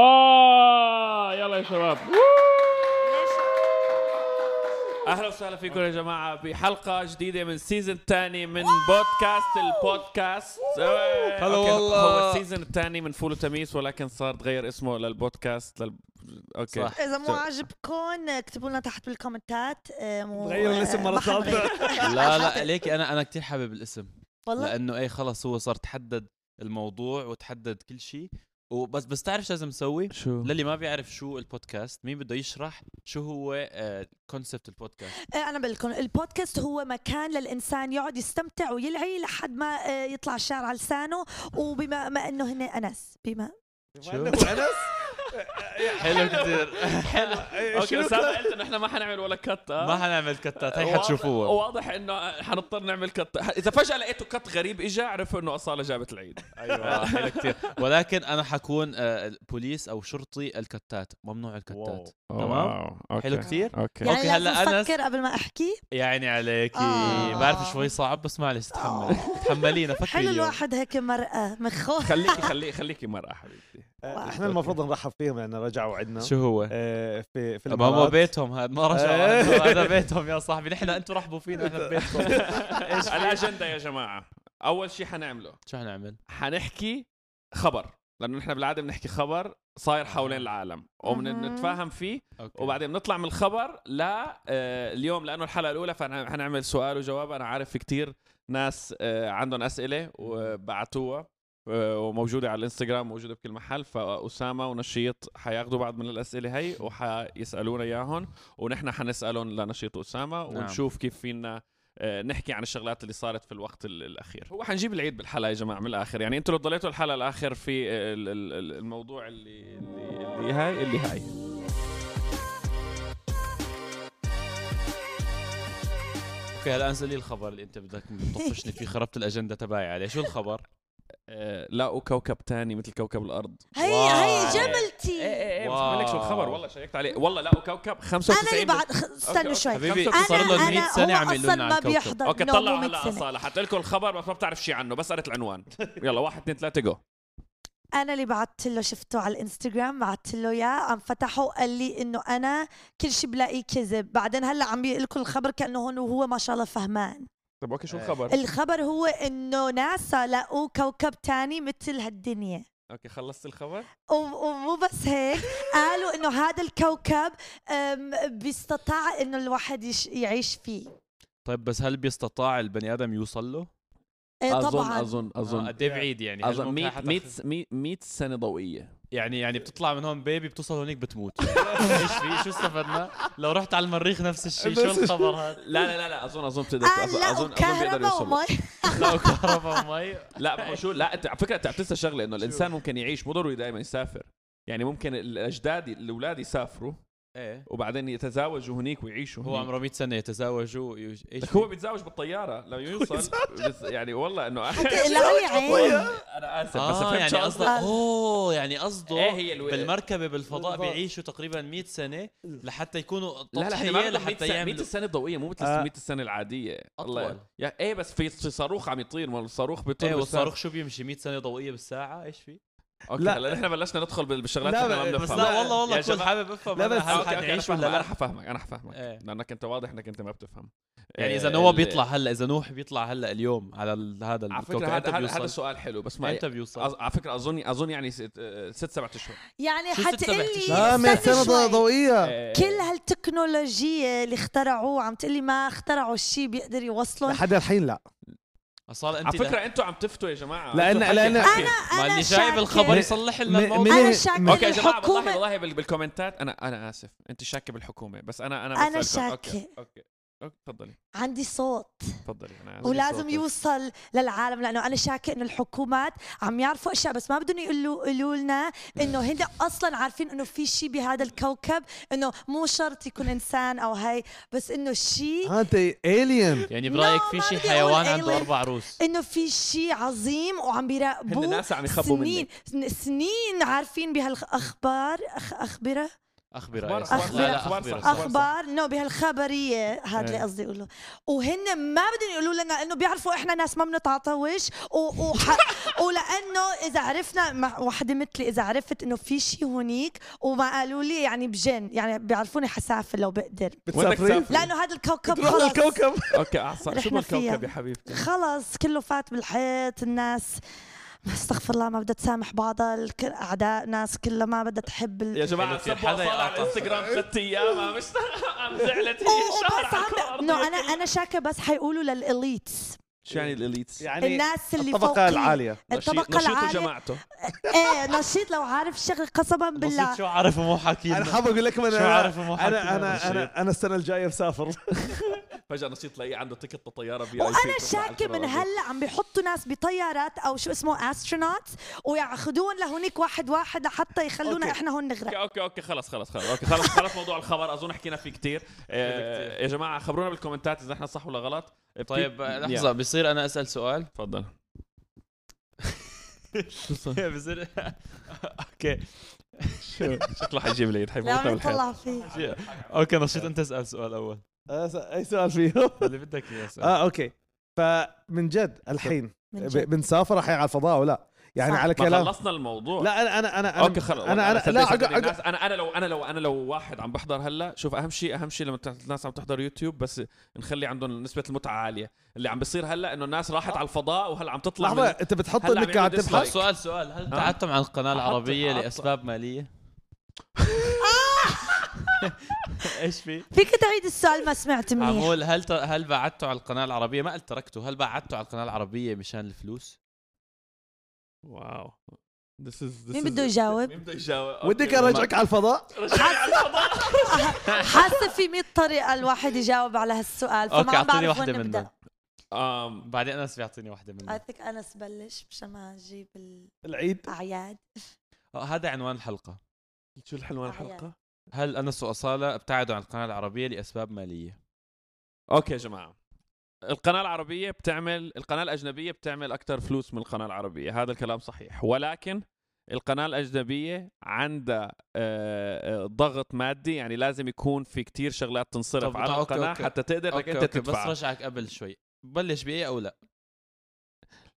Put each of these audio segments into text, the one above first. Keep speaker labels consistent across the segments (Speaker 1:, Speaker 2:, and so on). Speaker 1: الله يلا يا شباب
Speaker 2: اهلا وسهلا فيكم يا جماعه بحلقه جديده من سيزون الثاني من بودكاست البودكاست هلا
Speaker 3: والله.
Speaker 2: هو السيزون الثاني من فول وتميس ولكن صار تغير اسمه للبودكاست لل... اوكي صح.
Speaker 4: اذا مو عاجبكم اكتبوا لنا تحت بالكومنتات آه،
Speaker 3: غيروا الاسم مرة ثالثة.
Speaker 5: لا لا ليك انا انا كثير حابب الاسم
Speaker 4: والله
Speaker 5: لانه ايه خلص هو صار تحدد الموضوع وتحدد كل شيء وبس بس تعرف شو لازم نسوي؟
Speaker 2: شو
Speaker 5: للي ما بيعرف شو البودكاست مين بده يشرح شو هو كونسبت البودكاست
Speaker 4: آه، انا بقول البودكاست هو مكان للانسان يقعد يستمتع ويلعي لحد ما آه، يطلع الشعر على لسانه وبما ما انه هن انس بما
Speaker 3: شو؟ انس
Speaker 5: حلو كثير حلو
Speaker 2: اوكي
Speaker 3: شنو
Speaker 2: بس انا قلت انه احنا ما حنعمل ولا كت
Speaker 5: ما
Speaker 2: آه؟
Speaker 5: حنعمل طيب كتات هي
Speaker 2: واضح-
Speaker 5: حتشوفوها
Speaker 2: واضح انه حنضطر نعمل كت اذا فجاه لقيتوا كت غريب اجى اعرفوا انه اصاله جابت العيد
Speaker 5: آه، حلو كتير. ولكن انا حكون آه، بوليس او شرطي الكتات ممنوع الكتات تمام.
Speaker 1: واو. أوكي.
Speaker 5: حلو كتير
Speaker 1: اوكي
Speaker 4: يعني
Speaker 5: أوكي،
Speaker 4: لازم
Speaker 5: هلا أنس.
Speaker 4: افكر قبل ما احكي
Speaker 5: يعني عليكي
Speaker 4: آه.
Speaker 5: بعرف شوي صعب بس معلش تحمل تحملينا فكري
Speaker 4: حلو
Speaker 5: اليوم.
Speaker 4: الواحد هيك مرأة مخه
Speaker 2: خليكي خليكي خليكي مرأة حبيبتي
Speaker 3: احنا آه، المفروض نرحب فيهم لان رجعوا عندنا
Speaker 5: شو هو؟
Speaker 3: آه، في في
Speaker 5: ما هو
Speaker 3: الإمارات.
Speaker 5: بيتهم هذا ما رجعوا
Speaker 3: إيه.
Speaker 5: عنه، هذا بيتهم يا صاحبي نحن انتم رحبوا فينا احنا ببيتكم
Speaker 2: الاجنده يا جماعه اول شيء حنعمله
Speaker 5: شو حنعمل؟
Speaker 2: حنحكي خبر لانه نحن بالعاده بنحكي خبر صاير حوالين العالم
Speaker 4: مهم.
Speaker 2: وبنتفاهم فيه
Speaker 5: أوكي.
Speaker 2: وبعدين بنطلع من الخبر لا آه، اليوم لانه الحلقه الاولى فحنعمل سؤال وجواب انا عارف في كتير ناس آه، عندهم اسئله وبعتوها آه، وموجوده على الانستغرام موجوده بكل محل فاسامه ونشيط حياخذوا بعض من الاسئله هي وحيسالونا اياهم ونحن حنسالهم لنشيط واسامه
Speaker 5: نعم.
Speaker 2: ونشوف كيف فينا آه، نحكي عن الشغلات اللي صارت في الوقت ال- الاخير هو حنجيب العيد بالحلقه يا جماعه من الاخر يعني انتوا لو ضليتوا الحلقه الاخر في آه، ال- ال- ال- الموضوع اللي اللي اللي هاي اللي هاي
Speaker 5: اوكي هلا انزل لي الخبر اللي انت بدك تطفشني فيه خربت الاجنده تبعي عليه شو الخبر؟
Speaker 2: آه، لقوا كوكب تاني مثل كوكب الارض
Speaker 4: هي
Speaker 5: واو.
Speaker 4: هي جملتي
Speaker 2: ايه
Speaker 5: إيه، بس ما لك
Speaker 2: شو
Speaker 5: شو
Speaker 2: الخبر
Speaker 5: الخبر،
Speaker 2: والله شيكت عليه والله لقوا كوكب 95
Speaker 4: انا اللي بعد خ- استنوا شوي
Speaker 5: أوكي. حبيبي،
Speaker 4: انا
Speaker 5: صار لهم 100
Speaker 4: انا
Speaker 5: سنة عم
Speaker 4: هو
Speaker 5: يقولوا
Speaker 4: اصلا
Speaker 5: لنا عن
Speaker 4: ما
Speaker 5: الكوكب.
Speaker 4: بيحضر
Speaker 2: اوكي
Speaker 4: إنه
Speaker 2: طلعوا
Speaker 4: مو 100
Speaker 2: هلا
Speaker 4: سنة.
Speaker 2: اصاله حط لكم الخبر بس ما بتعرف شيء عنه بس قريت العنوان يلا واحد اثنين ثلاثه جو
Speaker 4: انا اللي بعثت له شفته على الانستغرام بعثت له اياه عم فتحه قال لي انه انا كل شيء بلاقيه كذب بعدين هلا عم بيقول لكم الخبر كانه هون وهو ما شاء الله فهمان
Speaker 2: طب اوكي شو
Speaker 5: إيه.
Speaker 2: الخبر
Speaker 4: الخبر هو انه ناسا لقوا كوكب تاني مثل هالدنيا
Speaker 2: اوكي خلصت الخبر
Speaker 4: و- ومو بس هيك قالوا انه هذا الكوكب أم، بيستطاع انه الواحد يش- يعيش فيه
Speaker 5: طيب بس هل بيستطاع البني ادم يوصل له؟
Speaker 4: إيه، طبعا
Speaker 2: اظن
Speaker 5: آه، قد ايه بعيد يعني؟ هل
Speaker 2: اظن
Speaker 5: ممكن
Speaker 2: 100
Speaker 5: حتى-
Speaker 2: 100 100 سنه ضوئيه
Speaker 5: يعني يعني بتطلع من هون بيبي بتوصل هونيك بتموت ايش في شو استفدنا؟ لو رحت على المريخ نفس الشيء شو
Speaker 3: بس-
Speaker 5: الخبر هذا؟
Speaker 2: لا لا لا آه، لا اظن اظن بتقدر
Speaker 4: قال
Speaker 2: اظن
Speaker 4: لقوا
Speaker 2: اظن اظن بيقدر
Speaker 4: كهرباء
Speaker 2: يوصل
Speaker 4: ومي
Speaker 5: لو كهرباء مي
Speaker 2: لا هو شو لا انت على فكره انت عم تنسى شغله انه الانسان ممكن يعيش مو ضروري دائما يسافر يعني ممكن الاجداد الاولاد يسافروا
Speaker 5: ايه
Speaker 2: وبعدين يتزاوجوا هنيك ويعيشوا
Speaker 5: هو
Speaker 2: هنيك.
Speaker 5: عمره 100 سنة يتزاوج هو ايش
Speaker 2: لك
Speaker 5: في؟
Speaker 2: هو بيتزاوج بالطياره لما يوصل بس يعني والله انه اخي
Speaker 4: لا يا عين
Speaker 2: انا اسف بس
Speaker 5: اه
Speaker 2: فهمت
Speaker 5: يعني
Speaker 2: شو
Speaker 5: قصده
Speaker 4: قصدك؟
Speaker 5: اوه يعني قصده
Speaker 2: إيه هي الو-
Speaker 5: بالمركبه بالفضاء
Speaker 3: بالفضاء.
Speaker 5: بيعيشوا تقريبا 100 سنه لحتى يكونوا
Speaker 2: لا لا
Speaker 5: تضحيه
Speaker 2: احنا
Speaker 5: لحتى
Speaker 2: لحتى 100
Speaker 5: يعملوا
Speaker 2: السنه الضوئيه مو مثل
Speaker 3: آه.
Speaker 2: 100 السنه العاديه
Speaker 5: أطول.
Speaker 2: الله يا ايه بس في في صاروخ عم يطير ما الصاروخ بيطير
Speaker 5: ايه
Speaker 2: بالساعة.
Speaker 5: طيب، والصاروخ شو بيمشي 100 سنه ضوئيه بالساعه ايش في؟
Speaker 2: اوكي
Speaker 3: لا.
Speaker 2: هلا نحن بلشنا ندخل بال- بالشغلات
Speaker 3: لا،
Speaker 2: اللي
Speaker 3: بس
Speaker 2: ما
Speaker 5: بس
Speaker 2: بنفهمها
Speaker 5: لا والله
Speaker 2: يا
Speaker 5: والله كنت
Speaker 2: جماعة-
Speaker 5: حابب افهم
Speaker 3: لا
Speaker 5: أنا
Speaker 3: بس-
Speaker 5: هل
Speaker 2: أوكي، أوكي،
Speaker 5: حنعيش
Speaker 2: أنا
Speaker 5: ولا لا
Speaker 2: فاهمك، انا حفهمك انا حفهمك
Speaker 5: إيه.
Speaker 2: لانك انت واضح انك انت ما بتفهم
Speaker 5: يعني
Speaker 2: إيه،
Speaker 5: اذا نوح
Speaker 2: ال-
Speaker 5: بيطلع هلا اذا نوح بيطلع هلا اليوم على ال- هذا
Speaker 2: على فكره
Speaker 5: الكوكب
Speaker 2: هذا
Speaker 5: امتى
Speaker 2: هذا هذا
Speaker 5: بيوصل؟
Speaker 2: السؤال حلو بس ما
Speaker 5: امتى
Speaker 2: أظ-
Speaker 5: بيوصل؟
Speaker 2: على فكره اظن اظن يعني ست آه، ست سبعة اشهر
Speaker 4: يعني
Speaker 5: شو ستة
Speaker 4: حتقلي
Speaker 5: بيحكي؟
Speaker 3: لا 100
Speaker 4: استني
Speaker 3: سنة
Speaker 4: شوي.
Speaker 3: ضوئية
Speaker 2: إيه.
Speaker 4: كل هالتكنولوجيا اللي اخترعوه عم تقلي ما اخترعوا الشيء بيقدر يوصلهم
Speaker 3: لحد الحين لا
Speaker 5: اصلا انت
Speaker 2: على فكره انتوا عم تفتوا يا جماعه
Speaker 3: لأن-
Speaker 2: أنتوا حكي-
Speaker 3: لأن-
Speaker 2: حكي.
Speaker 5: ما
Speaker 4: أنا
Speaker 5: اللي جايب الخبر
Speaker 4: شاكر.
Speaker 5: يصلح لنا
Speaker 3: م-
Speaker 5: الموضوع
Speaker 3: من-
Speaker 4: انا
Speaker 2: اوكي
Speaker 4: شاكه
Speaker 2: يا جماعه والله
Speaker 4: الحكومه
Speaker 2: والله بال- بالكومنتات انا انا اسف انت شاكه بالحكومه بس انا انا
Speaker 4: أنا
Speaker 2: بسألكم. اوكي
Speaker 4: شاكة.
Speaker 2: اوكي أوكي، تفضلي
Speaker 4: عندي صوت
Speaker 2: تفضلي انا اسف
Speaker 4: ولازم
Speaker 2: صوتك.
Speaker 4: يوصل للعالم لانه انا شاكه انه الحكومات عم يعرفوا اشياء بس ما بدهم يقولوا يقولوا لنا انه هن اصلا عارفين انه في شيء بهذا الكوكب انه مو شرط يكون انسان او هي بس انه
Speaker 2: آه.
Speaker 4: شيء
Speaker 3: ها انت الين
Speaker 5: يعني
Speaker 4: No،
Speaker 5: برايك في
Speaker 4: ما
Speaker 5: شي
Speaker 4: بدي
Speaker 5: حيوان
Speaker 4: أقول
Speaker 5: عنده
Speaker 4: alien.
Speaker 5: اربع عروس
Speaker 4: انه في شيء عظيم وعم
Speaker 2: هن
Speaker 4: بيراقبوه
Speaker 2: ناس عم يخبوا
Speaker 4: سنين
Speaker 2: مني
Speaker 4: سنين عارفين بهالاخبار أخ اخبره
Speaker 5: اخبره
Speaker 2: أخبار-
Speaker 5: يا سيدي.
Speaker 4: أخبار-
Speaker 5: لا، لا،
Speaker 2: أخبار
Speaker 5: أخبرة.
Speaker 2: صح.
Speaker 4: اخبار نو بهالخبريه هذا اللي
Speaker 2: إيه.
Speaker 4: قصدي اقوله وهن ما بدهم يقولوا لنا انه بيعرفوا احنا ناس ما بنتعطوش و... وح... ولانه اذا عرفنا مع وحده مثلي اذا عرفت انه في شيء هونيك وما قالوا لي يعني بجن يعني بيعرفوني حسافر لو بقدر
Speaker 2: وينك
Speaker 3: بتسافري
Speaker 2: تسافري؟
Speaker 4: لانه هذا الكوكب
Speaker 3: تروح
Speaker 4: خلص
Speaker 3: للكوكب
Speaker 2: اوكي احسن شو
Speaker 4: رحنا فيها.
Speaker 2: الكوكب يا حبيبتي
Speaker 4: خلص كله فات بالحيط الناس ما استغفر الله ما بدها تسامح بعضها الك- اعداء ناس كلها ما بدها تحب ال...
Speaker 2: يا جماعه
Speaker 5: حلو كتير.
Speaker 2: سبوا
Speaker 5: حدا
Speaker 2: أصالة على
Speaker 5: يقاطع.
Speaker 2: الانستغرام ست ايام عم مش عم زعلت هي
Speaker 4: وبس
Speaker 2: شهر على
Speaker 4: عم
Speaker 2: الأرض.
Speaker 4: انه انا انا شاكه بس حيقولوا للاليتس
Speaker 2: شو يعني الاليتس؟
Speaker 3: يعني
Speaker 4: الناس اللي
Speaker 3: الطبقه
Speaker 4: فوقي.
Speaker 3: العاليه
Speaker 4: الطبقه العاليه
Speaker 2: جماعته
Speaker 4: ايه نشيط لو عارف شغل قسما بالله
Speaker 5: بسيط شو عارف مو حاكي
Speaker 3: انا
Speaker 5: لنا.
Speaker 3: حاب اقول لكم انا
Speaker 5: شو عارف مو حاكي
Speaker 3: انا
Speaker 5: لنا.
Speaker 3: انا انا انا السنه الجايه مسافر
Speaker 2: فجاه نشيط تلاقيه عنده تيكت لطياره في
Speaker 4: وانا شاكه من هلا عم بيحطوا ناس بطيارات او شو اسمه استرونوت وياخذون لهونيك واحد واحد لحتى يخلونا
Speaker 2: أوكي.
Speaker 4: احنا هون نغرق
Speaker 2: اوكي اوكي اوكي خلص خلص خلص اوكي خلص خلص موضوع الخبر اظن حكينا فيه كثير يا جماعه خبرونا بالكومنتات اذا احنا صح ولا غلط بت-
Speaker 5: طيب
Speaker 2: يا.
Speaker 5: لحظه بصير انا اسال سؤال
Speaker 2: تفضل
Speaker 5: بصير اوكي
Speaker 2: شكله حيجيب لي حيموت
Speaker 4: لا عم
Speaker 2: بالحيط
Speaker 4: نطلع فيه
Speaker 5: اوكي نشيط انت اسال سؤال اول
Speaker 3: اي سؤال فيهم
Speaker 5: اللي بدك اياه اسال
Speaker 3: اه اوكي فمن جد الحين
Speaker 4: من جد.
Speaker 3: ب- بنسافر راح على الفضاء ولا يعني
Speaker 4: صح.
Speaker 3: على
Speaker 2: ما
Speaker 3: كلام
Speaker 2: خلصنا الموضوع
Speaker 3: لا انا انا انا
Speaker 2: اوكي خلص
Speaker 3: انا انا لا
Speaker 2: صدق-
Speaker 3: أقعد-
Speaker 2: صدق
Speaker 3: أقعد-
Speaker 2: الناس انا انا لو انا لو انا لو واحد عم بحضر هلا شوف اهم شيء اهم شيء لما بت- الناس عم تحضر يوتيوب بس نخلي عندهم نسبه المتعه عاليه اللي عم بيصير هلا انه الناس راحت على الفضاء وهلا عم تطلع
Speaker 3: لحظه
Speaker 2: من
Speaker 3: انت بتحط
Speaker 2: هلا
Speaker 3: انك
Speaker 2: عم
Speaker 3: قاعد
Speaker 2: يعمل
Speaker 5: طيب،
Speaker 2: dislike.
Speaker 3: تبحث
Speaker 5: سؤال سؤال هل
Speaker 2: آه.
Speaker 5: تعدتم عن القناه العربيه
Speaker 2: أحط-
Speaker 5: لاسباب ماليه؟ ايش في؟
Speaker 4: فيك تعيد السؤال ما سمعت منيح
Speaker 5: عمول هل ت... هل بعدته على القناه العربيه؟ ما قلت تركته، هل بعدته على القناه العربيه مشان الفلوس؟
Speaker 2: واو This is- this
Speaker 4: مين
Speaker 2: is-
Speaker 4: بده يجاوب؟
Speaker 2: مين بده يجاوب
Speaker 3: ودك
Speaker 2: أوكي.
Speaker 3: ارجعك على الفضاء
Speaker 4: حاسه في 100 طريقه الواحد يجاوب على هالسؤال فما
Speaker 5: أوكي،
Speaker 4: عم
Speaker 5: أعطيني
Speaker 4: بعرف
Speaker 5: واحدة
Speaker 4: وين نبدا
Speaker 5: منهم.
Speaker 2: آم،
Speaker 5: بعدين انس بيعطيني واحده منهم
Speaker 4: اي ثينك انس بلش مشان ما نجيب
Speaker 3: العيد
Speaker 4: الاعياد
Speaker 5: آه، هذا عنوان الحلقه
Speaker 2: شو الحلوه
Speaker 4: أحيانا.
Speaker 2: الحلقه
Speaker 5: هل انس واصاله ابتعدوا عن القناه العربيه لاسباب ماليه؟
Speaker 2: اوكي يا جماعه القناة العربية بتعمل القناة الأجنبية بتعمل أكثر فلوس من القناة العربية هذا الكلام صحيح ولكن القناة الأجنبية عندها آه، آه، ضغط مادي يعني لازم يكون في كتير شغلات تنصرف
Speaker 5: طب-
Speaker 2: على
Speaker 5: طب، أوكي،
Speaker 2: القناة
Speaker 5: أوكي.
Speaker 2: حتى تقدر انك
Speaker 5: اوكي
Speaker 2: أنت
Speaker 5: اوكي بس
Speaker 2: تدفع
Speaker 5: رجعك قبل شوي بلش بايه او لا؟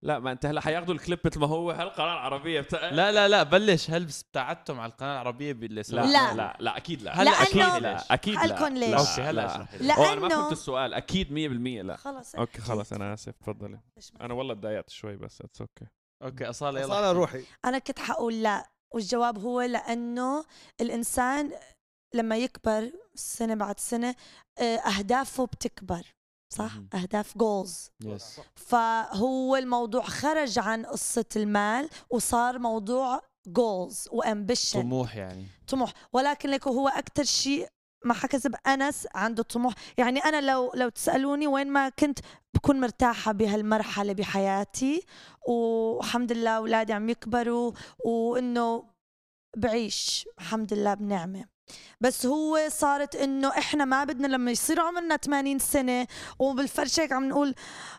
Speaker 2: لا ما أنت هلا حياخذوا الكليب مثل ما هو هالقناة العربية بتا...
Speaker 5: لا لا لا بلش هل بس ابتعدتم على القناه العربيه بالاسباب
Speaker 2: لا
Speaker 4: لا.
Speaker 2: لا لا, لا أكيد لا
Speaker 5: هلا
Speaker 4: لأنه-
Speaker 5: اكيد
Speaker 2: لا
Speaker 5: لا
Speaker 2: أكيد لا
Speaker 4: ألكن ليش.
Speaker 2: لا،
Speaker 5: اوكي هلا
Speaker 2: لا
Speaker 5: اشرح لي.
Speaker 4: لا.
Speaker 2: أوه، أنا ما
Speaker 4: لأنه-
Speaker 2: فهمت السؤال أكيد 100% لا
Speaker 4: خلص
Speaker 2: أوكي خلص أنا آسف تفضلي أنا والله تضايقت شوي بس اتس أوكي
Speaker 5: اوكي اصاله يلا
Speaker 3: انا روحي
Speaker 4: انا كنت حقول لا والجواب هو لانه الانسان لما يكبر سنه بعد سنه آه، اهدافه بتكبر صح
Speaker 5: مهم.
Speaker 4: اهداف جولز
Speaker 5: يس
Speaker 4: فهو الموضوع خرج عن قصه المال وصار موضوع جولز وامبيشن
Speaker 5: طموح يعني
Speaker 4: طموح ولكن لك هو اكثر شيء ما حكذب انس عنده طموح يعني انا لو لو تسالوني وين ما كنت بكون مرتاحه بهالمرحله بحياتي والحمد لله اولادي عم يكبروا وانه بعيش الحمد لله بنعمه بس هو صارت انه احنا ما بدنا لما يصير عمرنا 80 سنه وبالفرش هيك عم نقول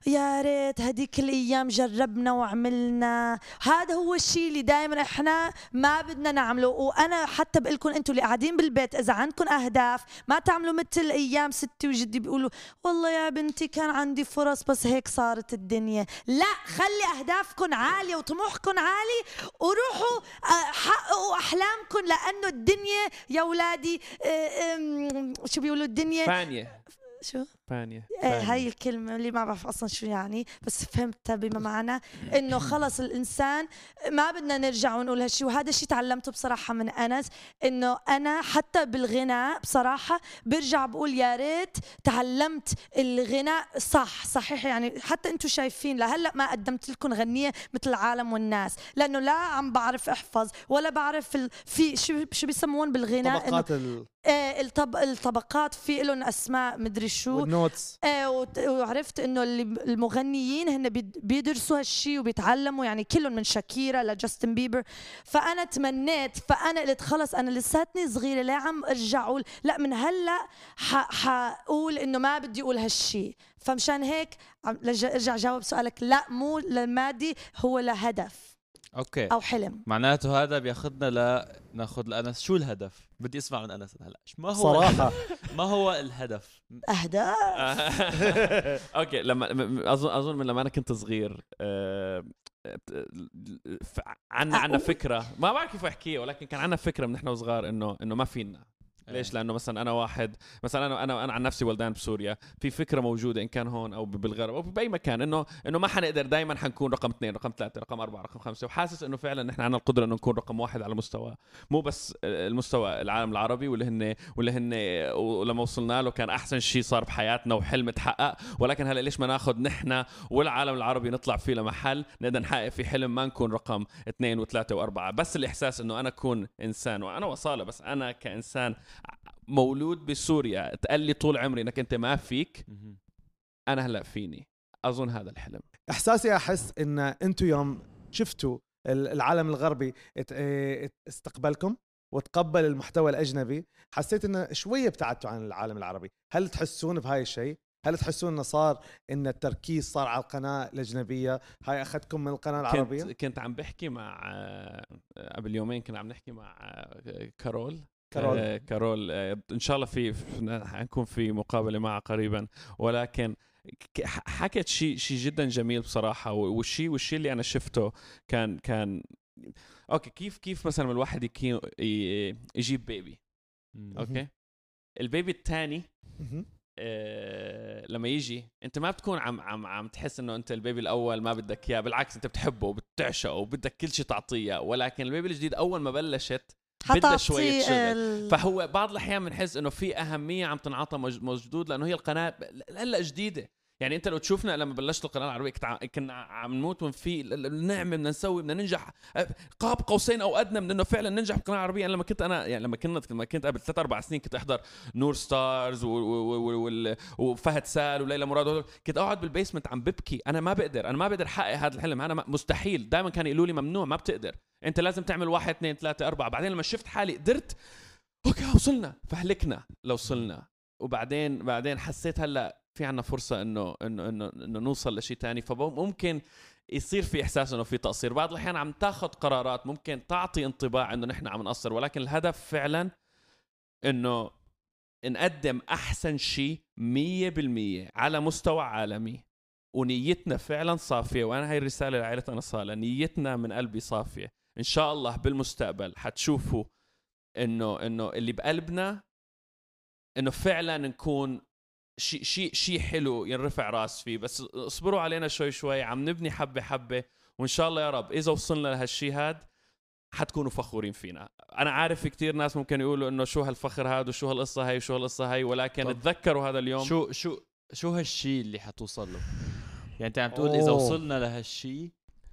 Speaker 4: يا ريت هديك الايام جربنا وعملنا هذا هو الشيء اللي دائما احنا ما بدنا نعمله وانا حتى بقول لكم انتم اللي قاعدين بالبيت اذا عندكم اهداف ما تعملوا مثل ايام ستي وجدي بيقولوا والله يا بنتي كان عندي فرص بس هيك صارت الدنيا لا خلي اهدافكم عاليه وطموحكم عالي وروحوا آه، حققوا احلامكم لانه الدنيا يا اولادي آه، آم، شو بيقولوا الدنيا
Speaker 2: فانية
Speaker 4: شو
Speaker 2: فانية
Speaker 4: آه، هاي الكلمة اللي ما بعرف أصلا شو يعني بس فهمتها بما معنى إنه خلص الإنسان ما بدنا نرجع ونقول هالشي وهذا الشيء تعلمته بصراحة من أنس إنه أنا حتى بالغناء بصراحة برجع بقول يا ريت تعلمت الغناء صح صحيح يعني حتى أنتم شايفين لهلا ما قدمت لكم غنية مثل العالم والناس لأنه لا عم بعرف أحفظ ولا بعرف ال... في شو شو بيسمون بالغناء إنه
Speaker 3: طبقات ال-
Speaker 4: آه الطب... الطبقات في لهم أسماء مدري شو
Speaker 3: والنوتس
Speaker 4: ايه وت- وعرفت انه اللي- المغنيين هن بيد- بيدرسوا هالشي وبيتعلموا يعني كلهم من شاكيرا لجاستن بيبر فانا تمنيت فانا قلت خلص انا لساتني صغيره لا عم ارجع اقول لا من هلا ح- حقول انه ما بدي اقول هالشي فمشان هيك عم- لج- ارجع جاوب سؤالك لا مو لمادي هو لهدف
Speaker 5: اوكي
Speaker 4: او حلم
Speaker 5: معناته هذا بياخذنا لناخذ لانس شو الهدف؟ بدي اسمع من انس هلا ما هو
Speaker 3: صراحه
Speaker 5: ما هو الهدف؟
Speaker 4: اهداف
Speaker 2: اوكي لما م- م- اظن اظن من لما انا كنت صغير آه،
Speaker 4: آه،
Speaker 2: عنا عنا فكره ما بعرف كيف احكيها ولكن كان عنا فكره من نحن وصغار انه انه ما فينا
Speaker 5: إيه.
Speaker 2: ليش؟ لانه مثلا انا واحد مثلا انا انا انا عن نفسي ولدان بسوريا في فكره موجوده ان كان هون او بالغرب او باي مكان انه انه ما حنقدر دائما حنكون رقم اثنين رقم ثلاثه رقم اربعه رقم خمسه وحاسس انه فعلا نحن عندنا القدره انه نكون رقم واحد على مستوى مو بس المستوى العالم العربي واللي هن واللي هن ولما وصلنا له كان احسن شيء صار بحياتنا وحلم تحقق ولكن هلا ليش ما ناخذ نحن والعالم العربي نطلع فيه لمحل نقدر نحقق فيه حلم ما نكون رقم اثنين وثلاثه واربعه بس الاحساس انه انا اكون انسان وانا وصاله بس انا كانسان مولود بسوريا تقال لي طول عمري انك انت ما فيك
Speaker 5: مهم.
Speaker 2: انا هلا فيني اظن هذا الحلم
Speaker 3: احساسي احس ان انتم يوم شفتوا ال- العالم الغربي ات- اه، ات- استقبلكم وتقبل المحتوى الاجنبي حسيت انه شويه ابتعدتوا عن العالم العربي هل تحسون بهاي الشيء هل تحسون انه صار ان التركيز صار على القناه الاجنبيه هاي اخذتكم من القناه العربيه
Speaker 2: كنت كنت عم بحكي مع آه، قبل يومين كنا عم نحكي مع آه، كارول
Speaker 3: كارول.
Speaker 2: آه، كارول آه، ان شاء الله في في- حنكون في مقابله معها قريبا ولكن ك- ح- حكت شيء شيء جدا جميل بصراحه و- والشيء والشيء اللي انا شفته كان كان اوكي كيف كيف مثلا الواحد يكي- ي- يجيب بيبي
Speaker 5: مم.
Speaker 2: اوكي البيبي الثاني
Speaker 3: مهم.
Speaker 2: آه، لما يجي انت ما بتكون عم عم عم تحس انه انت البيبي الاول ما بدك اياه بالعكس انت بتحبه وبتعشقه وبدك كل شيء تعطيه ولكن البيبي الجديد اول ما بلشت بدها شوية شغل.
Speaker 4: ال-
Speaker 2: فهو بعض الاحيان بنحس انه في اهميه عم تنعطى مج- موجود لانه هي القناه ب- هلا جديده يعني انت لو تشوفنا لما بلشت القناه العربيه كنت ع- كنا عم نموت ونفي ل- ل- نعمل بدنا نسوي بدنا ننجح أه، قاب قوسين او ادنى من انه فعلا ننجح بالقناه العربيه انا لما كنت انا يعني لما كنت لما كنت قبل ثلاث اربع سنين كنت احضر نور ستارز و- و- و- وال- وفهد سال وليلى مراد وهدول. كنت اقعد بالبيسمنت عم ببكي انا ما بقدر انا ما بقدر احقق هذا الحلم انا ما- مستحيل دائما كانوا يقولوا لي ممنوع ما بتقدر انت لازم تعمل واحد اثنين ثلاثه اربعه بعدين لما شفت حالي قدرت اوكي وصلنا فهلكنا لو وصلنا وبعدين بعدين حسيت هلا في عنا فرصه انه انه انه, إنه نوصل لشيء تاني فممكن يصير في احساس انه في تقصير بعض الاحيان عم تاخذ قرارات ممكن تعطي انطباع انه نحن عم نقصر ولكن الهدف فعلا انه نقدم احسن شيء 100% على مستوى عالمي ونيتنا فعلا صافيه وانا هاي الرساله لعائله انا صاله نيتنا من قلبي صافيه ان شاء الله بالمستقبل حتشوفوا انه انه اللي بقلبنا انه فعلا نكون شيء شيء شيء حلو ينرفع راس فيه بس اصبروا علينا شوي شوي عم نبني حبه حبه وان شاء الله يا رب اذا وصلنا لهالشيء هاد حتكونوا فخورين فينا انا عارف كتير ناس ممكن يقولوا انه شو هالفخر هاد وشو هالقصه هاي وشو هالقصه هاي ولكن
Speaker 5: طب.
Speaker 2: تذكروا هذا اليوم
Speaker 5: شو شو شو هالشيء اللي حتوصل له؟ يعني انت عم تقول اذا
Speaker 3: أوه.
Speaker 5: وصلنا لهالشيء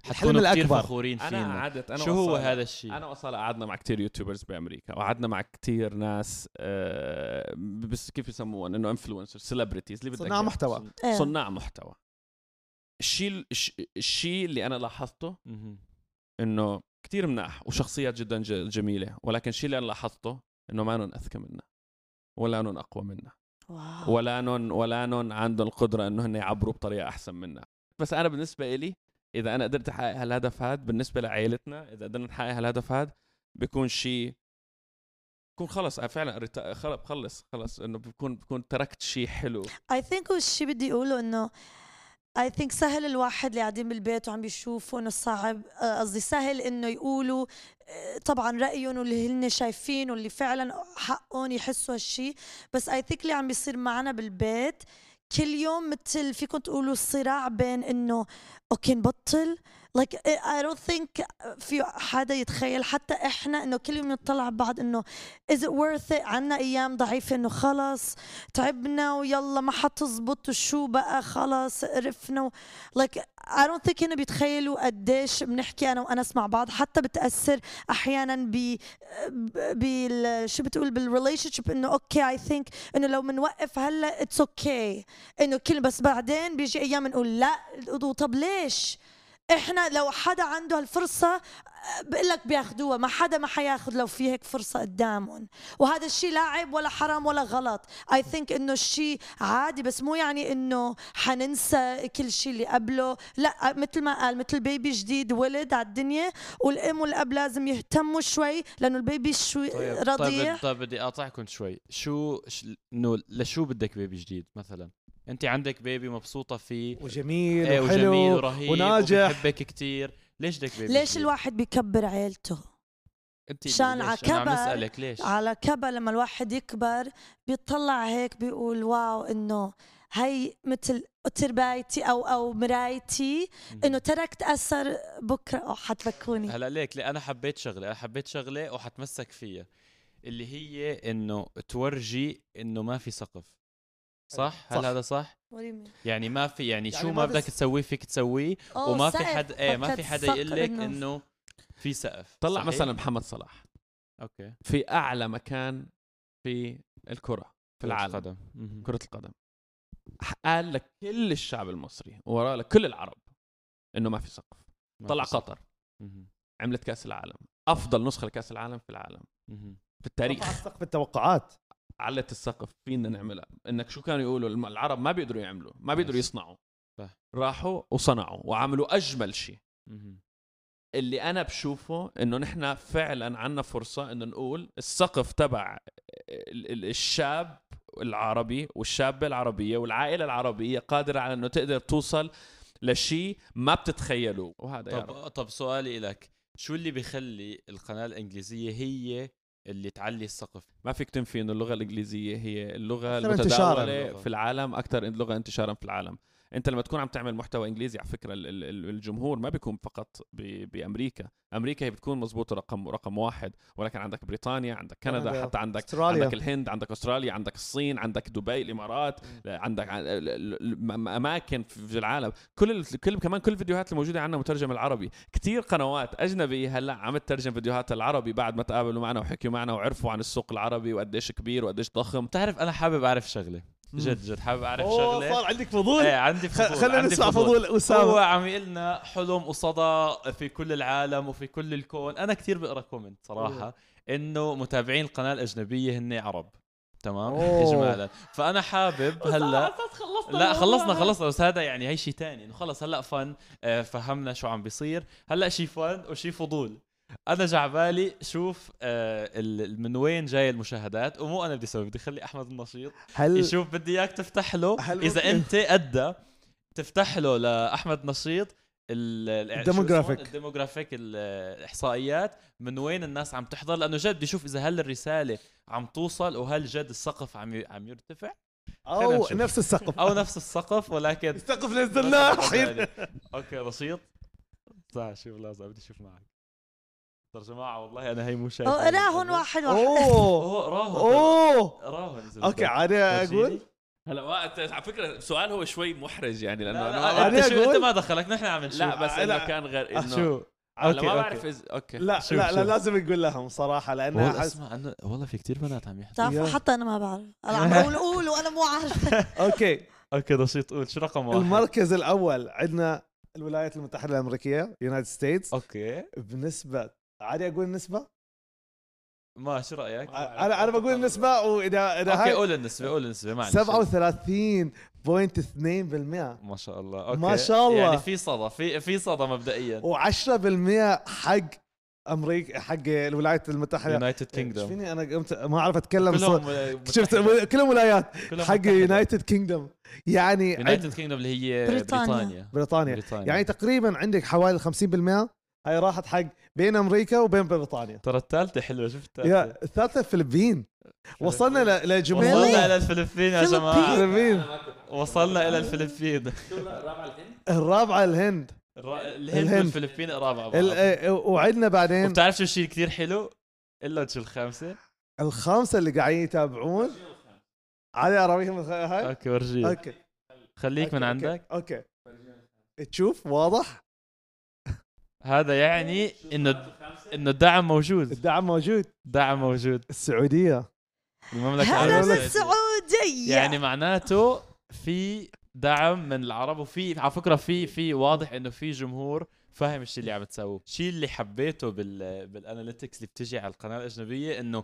Speaker 3: الحلم
Speaker 5: حتكونوا كثير
Speaker 3: الأكبر.
Speaker 5: فخورين
Speaker 2: انا
Speaker 5: فينا
Speaker 2: قعدت انا
Speaker 5: شو هو
Speaker 2: وصالة-
Speaker 5: هذا الشيء؟
Speaker 2: انا وصل قعدنا مع كتير يوتيوبرز بامريكا وقعدنا مع كتير ناس آه، بس كيف يسموهم انه انفلونسر سيلبرتيز اللي بدك
Speaker 3: صناع
Speaker 2: إياه.
Speaker 3: محتوى
Speaker 4: إيه.
Speaker 2: صناع محتوى الشيء الش- الشيء اللي انا لاحظته
Speaker 5: مهم.
Speaker 2: انه كتير مناح وشخصيات جدا ج- جميله ولكن الشيء اللي انا لاحظته انه ما نون اذكى منا ولا نون اقوى منا
Speaker 4: واو.
Speaker 2: ولا نون ولا نون عندهم القدره انه هن يعبروا بطريقه احسن منا بس انا بالنسبه إلي اذا انا قدرت احقق هالهدف هذا بالنسبه لعائلتنا اذا قدرنا نحقق هالهدف هذا بيكون شيء بكون خلص أنا فعلا ريتا- خلص خلص خلص انه بكون بكون تركت شيء حلو
Speaker 4: اي ثينك الشيء بدي اقوله انه اي ثينك سهل الواحد اللي قاعدين بالبيت وعم بيشوفوا انه صعب آه، قصدي سهل انه يقولوا آه، طبعا رايهم واللي هن شايفين واللي فعلا حقهم يحسوا هالشيء بس اي ثينك اللي عم بيصير معنا بالبيت كل يوم مثل فيكم تقولوا صراع بين انه اوكي نبطل لايك اي دونت ثينك في حدا يتخيل حتى احنا انه كل يوم نطلع بعض انه از ات ورث عنا ايام ضعيفه انه خلص تعبنا ويلا ما حتزبط وشو بقى خلاص قرفنا و... like I don't think هنا بيتخيلوا قديش بنحكي انا وانس مع بعض حتى بتاثر احيانا ب بال شو بتقول بالريليشن شيب انه اوكي اي ثينك انه لو بنوقف هلا اتس اوكي انه كل بس بعدين بيجي ايام بنقول لا طب ليش احنا لو حدا عنده هالفرصه بقول لك بياخدوها ما حدا ما حياخد لو في هيك فرصه قدامهم وهذا الشيء لا عيب ولا حرام ولا غلط اي ثينك انه الشيء عادي بس مو يعني انه حننسى كل شيء اللي قبله لا مثل ما قال مثل بيبي جديد ولد على الدنيا والام والاب لازم يهتموا شوي لانه البيبي شوي رضيع
Speaker 5: طيب طيب بدي اقاطعكم شوي شو ش- انه لشو بدك بيبي جديد مثلا انت عندك بيبي مبسوطه فيه
Speaker 3: وجميل
Speaker 5: ايه
Speaker 3: وحلو
Speaker 5: وجميل ورهيب
Speaker 3: وناجح
Speaker 5: وبحبك كثير ليش بدك بيبي
Speaker 4: ليش
Speaker 5: كبير؟
Speaker 4: الواحد بيكبر عيلته
Speaker 5: انت
Speaker 4: شان
Speaker 5: ليش؟
Speaker 4: على
Speaker 5: انا
Speaker 4: كبر.
Speaker 5: عم نسالك ليش
Speaker 4: على كبا لما الواحد يكبر بيطلع هيك بيقول واو انه هي مثل تربايتي او او مرايتي انه تركت اثر بكره او حتبكوني
Speaker 5: هلا ليك لأ انا حبيت شغله انا حبيت شغله وحتمسك فيها اللي هي انه تورجي انه ما في سقف صح هل
Speaker 3: صح.
Speaker 5: هذا صح يعني ما في يعني,
Speaker 3: يعني
Speaker 5: شو
Speaker 3: ما
Speaker 5: ما بدك
Speaker 3: بس-
Speaker 5: تسويه فيك تسويه
Speaker 4: أوه،
Speaker 5: وما في
Speaker 4: آه، سقف.
Speaker 5: حد ايه ما
Speaker 4: فكرت
Speaker 5: في حدا
Speaker 4: صقر
Speaker 5: يقول لك
Speaker 4: إنه-
Speaker 5: انه في سقف
Speaker 2: طلع
Speaker 5: صحيح؟
Speaker 2: مثلا محمد صلاح
Speaker 5: اوكي
Speaker 2: في اعلى مكان في الكره في العالم
Speaker 5: قدم مهم.
Speaker 2: كرة القدم قال لكل الشعب المصري وراه لكل العرب انه ما في سقف
Speaker 5: ما
Speaker 2: طلع
Speaker 5: في سقف.
Speaker 2: قطر
Speaker 5: مهم.
Speaker 2: عملت كاس العالم افضل نسخه لكاس العالم في العالم
Speaker 5: مهم.
Speaker 2: في التاريخ
Speaker 3: رفع سقف التوقعات
Speaker 2: علت السقف فينا نعملها انك شو كانوا يقولوا الم- العرب ما بيقدروا يعملوا ما بيقدروا
Speaker 5: بس.
Speaker 2: يصنعوا
Speaker 5: صح.
Speaker 2: راحوا وصنعوا وعملوا اجمل شيء
Speaker 5: مهم.
Speaker 2: اللي انا بشوفه انه نحن فعلا عندنا فرصه انه نقول السقف تبع ال- ال- الشاب العربي والشابه العربيه والعائله العربيه قادره على انه تقدر توصل لشيء ما بتتخيلوه وهذا يا رب.
Speaker 5: طب طب سؤالي لك شو اللي بيخلي القناه الانجليزيه هي اللي تعلي السقف
Speaker 2: ما فيك تنفي انه اللغه الانجليزيه هي اللغه
Speaker 3: أكثر انتشاراً.
Speaker 2: المتداوله في العالم اكثر لغه انتشارا في العالم انت لما تكون عم تعمل محتوى انجليزي على فكره ال- ال- ال- الجمهور ما بيكون فقط ب- بامريكا امريكا هي بتكون مزبوطه رقم رقم واحد ولكن عندك بريطانيا عندك كندا
Speaker 3: كندا،
Speaker 2: حتى عندك
Speaker 3: أستراليا.
Speaker 2: عندك الهند عندك استراليا عندك الصين عندك دبي الامارات عندك ع- ال- ال- ال- اماكن في العالم كل ال- كل كمان كل الفيديوهات الموجوده عندنا مترجمه العربي كثير قنوات اجنبيه هلا عم تترجم فيديوهات العربي بعد ما تقابلوا معنا وحكيوا معنا وعرفوا عن السوق العربي وقديش كبير وقديش ضخم
Speaker 5: بتعرف انا حابب اعرف شغله جد جد حابب اعرف
Speaker 3: اوه
Speaker 5: شغله
Speaker 3: صار عندك فضول
Speaker 5: ايه عندي
Speaker 3: خ-
Speaker 5: فضول
Speaker 3: خلينا
Speaker 5: عندي
Speaker 3: نسمع فضول
Speaker 5: هو
Speaker 3: اسامه
Speaker 5: عم يقول لنا حلم وصدى في كل العالم وفي كل الكون انا كثير بقرا كومنت صراحه انه متابعين القناه الاجنبيه هن عرب تمام
Speaker 3: أوه.
Speaker 5: اجمالا فانا حابب هلا
Speaker 2: خلصنا
Speaker 5: لا خلصنا خلصنا بس هذا يعني هي شيء ثاني انه خلص هلا فن آه، فهمنا شو عم بيصير هلا شيء فن وشيء فضول انا جعبالي شوف آه، ال- من وين جاي المشاهدات ومو انا بدي اسوي بدي اخلي احمد النشيط
Speaker 3: هل
Speaker 5: يشوف بدي اياك تفتح له
Speaker 3: إيه. هل
Speaker 5: اذا
Speaker 3: ممكن-
Speaker 5: انت قدها تفتح له لاحمد نشيط ال- ال- شو اسمه؟
Speaker 3: الديموغرافيك.
Speaker 5: الديموغرافيك ال- الاحصائيات من وين الناس عم تحضر لانه جد بدي اشوف اذا هل الرساله عم توصل وهل جد السقف عم ي- عم يرتفع خلينا
Speaker 3: او
Speaker 5: نشوف.
Speaker 3: نفس السقف
Speaker 5: او نفس السقف ولكن
Speaker 3: السقف نزلناه الحين
Speaker 5: اوكي نشيط تعال شوف لازم بدي اشوف معك صار جماعه والله انا هي مو شايف
Speaker 4: أو لا هون واحد واحد
Speaker 3: اوه
Speaker 5: اوه راهن
Speaker 3: اوه
Speaker 5: راهن زلمة.
Speaker 3: اوكي انا
Speaker 5: فرجيني.
Speaker 3: اقول
Speaker 2: هلا وقت على فكره السؤال هو شوي محرج يعني لانه
Speaker 5: لا,
Speaker 2: أنا
Speaker 5: لا,
Speaker 2: ما
Speaker 5: انت
Speaker 3: أنا
Speaker 5: شو انت
Speaker 3: أقول-
Speaker 5: ما دخلك نحن عم نشوف
Speaker 2: لا بس انه
Speaker 3: لا.
Speaker 2: كان غير
Speaker 5: آه،
Speaker 2: انه
Speaker 5: شو
Speaker 2: هلا ما
Speaker 5: أوكي،
Speaker 2: بعرف
Speaker 5: أوكي.
Speaker 2: إذا- اوكي
Speaker 3: لا
Speaker 5: شوف،
Speaker 3: لا لا
Speaker 5: شوف.
Speaker 3: لازم نقول لهم صراحه لانه
Speaker 5: والله
Speaker 3: أحس...
Speaker 5: اسمع انه والله في كثير بنات عم يحكوا
Speaker 4: بتعرفوا حتى انا ما بعرف انا عم بقول قول وانا مو عارفه
Speaker 3: اوكي
Speaker 5: اوكي نشيط قول شو رقم واحد
Speaker 3: المركز الاول عندنا الولايات المتحده الامريكيه يونايتد ستيتس
Speaker 5: اوكي
Speaker 3: بنسبه عادي اقول نسبه
Speaker 5: ما شو رايك؟
Speaker 3: انا انا
Speaker 5: آه،
Speaker 3: بقول نسبه واذا اذا
Speaker 5: اوكي
Speaker 3: آه، هاي
Speaker 5: قول النسبه قول النسبه معلش
Speaker 3: 37.2%
Speaker 5: ما شاء الله اوكي
Speaker 3: ما شاء الله.
Speaker 5: يعني في صدى في في صدى مبدئيا
Speaker 3: و10% حق امريكا حق الولايات المتحده
Speaker 5: يونايتد كينجدوم
Speaker 3: فيني انا قمت ما اعرف اتكلم صوت.
Speaker 5: كلهم
Speaker 3: شفت كلهم ولايات
Speaker 5: كلهم
Speaker 3: حق
Speaker 5: متحدة.
Speaker 3: يونايتد كينجدم يعني عند
Speaker 5: يونايتد كينجدوم اللي هي
Speaker 4: بريطانيا.
Speaker 5: بريطانيا
Speaker 3: بريطانيا
Speaker 5: بريطانيا
Speaker 3: يعني تقريبا عندك حوالي 50% هاي راحت حق بين امريكا وبين بريطانيا
Speaker 5: ترى الثالثه حلوه شفتها
Speaker 3: يا الثالثه الفلبين وصلنا ل-
Speaker 5: وصلنا
Speaker 3: لجمهورية
Speaker 5: الى الفلبين يا
Speaker 4: فلبين.
Speaker 5: جماعه
Speaker 3: الفلبين
Speaker 5: وصلنا الى الفلبين
Speaker 3: الرابعه الهند
Speaker 5: الرا-
Speaker 3: الهند.
Speaker 5: الهند والفلبين رابعه
Speaker 3: ال-
Speaker 5: بعض.
Speaker 3: آه، وعندنا بعدين
Speaker 5: وبتعرف شو الشيء كثير حلو؟ الا شو الخامسه
Speaker 3: الخمسه اللي قاعدين يتابعون علي اراويهم الخ- هاي
Speaker 5: اوكي ورجيك
Speaker 3: اوكي
Speaker 5: خليك من
Speaker 3: أوكي، أوكي،
Speaker 5: عندك
Speaker 3: اوكي تشوف واضح
Speaker 5: هذا يعني انه انه الدعم موجود
Speaker 3: الدعم موجود
Speaker 5: الدعم موجود
Speaker 3: السعوديه
Speaker 5: المملكه
Speaker 4: هلا
Speaker 5: العربيه السعودية.
Speaker 4: السعوديه
Speaker 5: يعني معناته في دعم من العرب وفي على فكره في في واضح انه في جمهور فاهم الشيء اللي عم تسووه الشيء اللي حبيته بال بالاناليتكس اللي بتجي على القناه الاجنبيه انه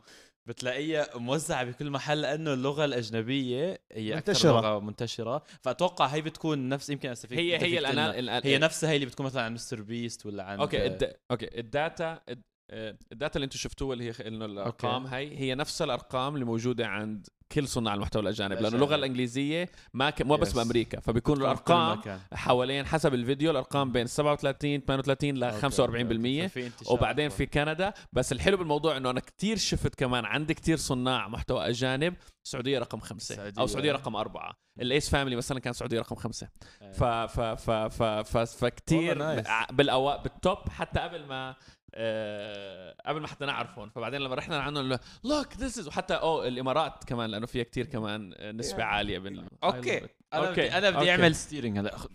Speaker 5: بتلاقيها موزعه بكل محل لانه اللغه الاجنبيه هي اكثر
Speaker 3: منتشرة.
Speaker 5: لغه منتشره فاتوقع هي بتكون نفس يمكن أستفيد
Speaker 2: هي
Speaker 5: أنت فيك
Speaker 2: هي
Speaker 5: تقلنا.
Speaker 2: الان
Speaker 5: هي نفسها هي اللي بتكون مثلا عن مستر بيست ولا عن
Speaker 2: اوكي الد... اوكي الداتا الد- آه، الداتا اللي انتم شفتوها اللي هي خ- انه الارقام هاي هي نفس الارقام اللي موجوده عند كل صناع المحتوى الاجانب لانه
Speaker 5: الأجانب.
Speaker 2: اللغه الانجليزيه ما ك... مو بس
Speaker 5: Yes.
Speaker 2: بامريكا فبيكون الارقام حوالين حسب الفيديو الارقام بين 47 38 ل 45% وبعدين في كندا بس الحلو بالموضوع انه انا كتير شفت كمان عندي كتير صناع محتوى اجانب السعوديه رقم خمسة
Speaker 5: السعودية.
Speaker 2: او السعوديه رقم أربعة الايس فاميلي مثلا كان السعوديه رقم خمسة ف ف ف ف ف فكتير
Speaker 5: والله nice.
Speaker 2: بالأوا بالتوب حتى قبل ما آه، قبل ما حتى نعرفهم فبعدين لما رحنا عنهم لوك ذيس از وحتى او الامارات كمان لانه فيها كتير كمان نسبه عاليه بال I love
Speaker 5: اوكي
Speaker 2: it.
Speaker 5: انا
Speaker 2: أوكي.
Speaker 5: بدي انا بدي
Speaker 2: أوكي.
Speaker 5: اعمل ستيرنج هلا أخ-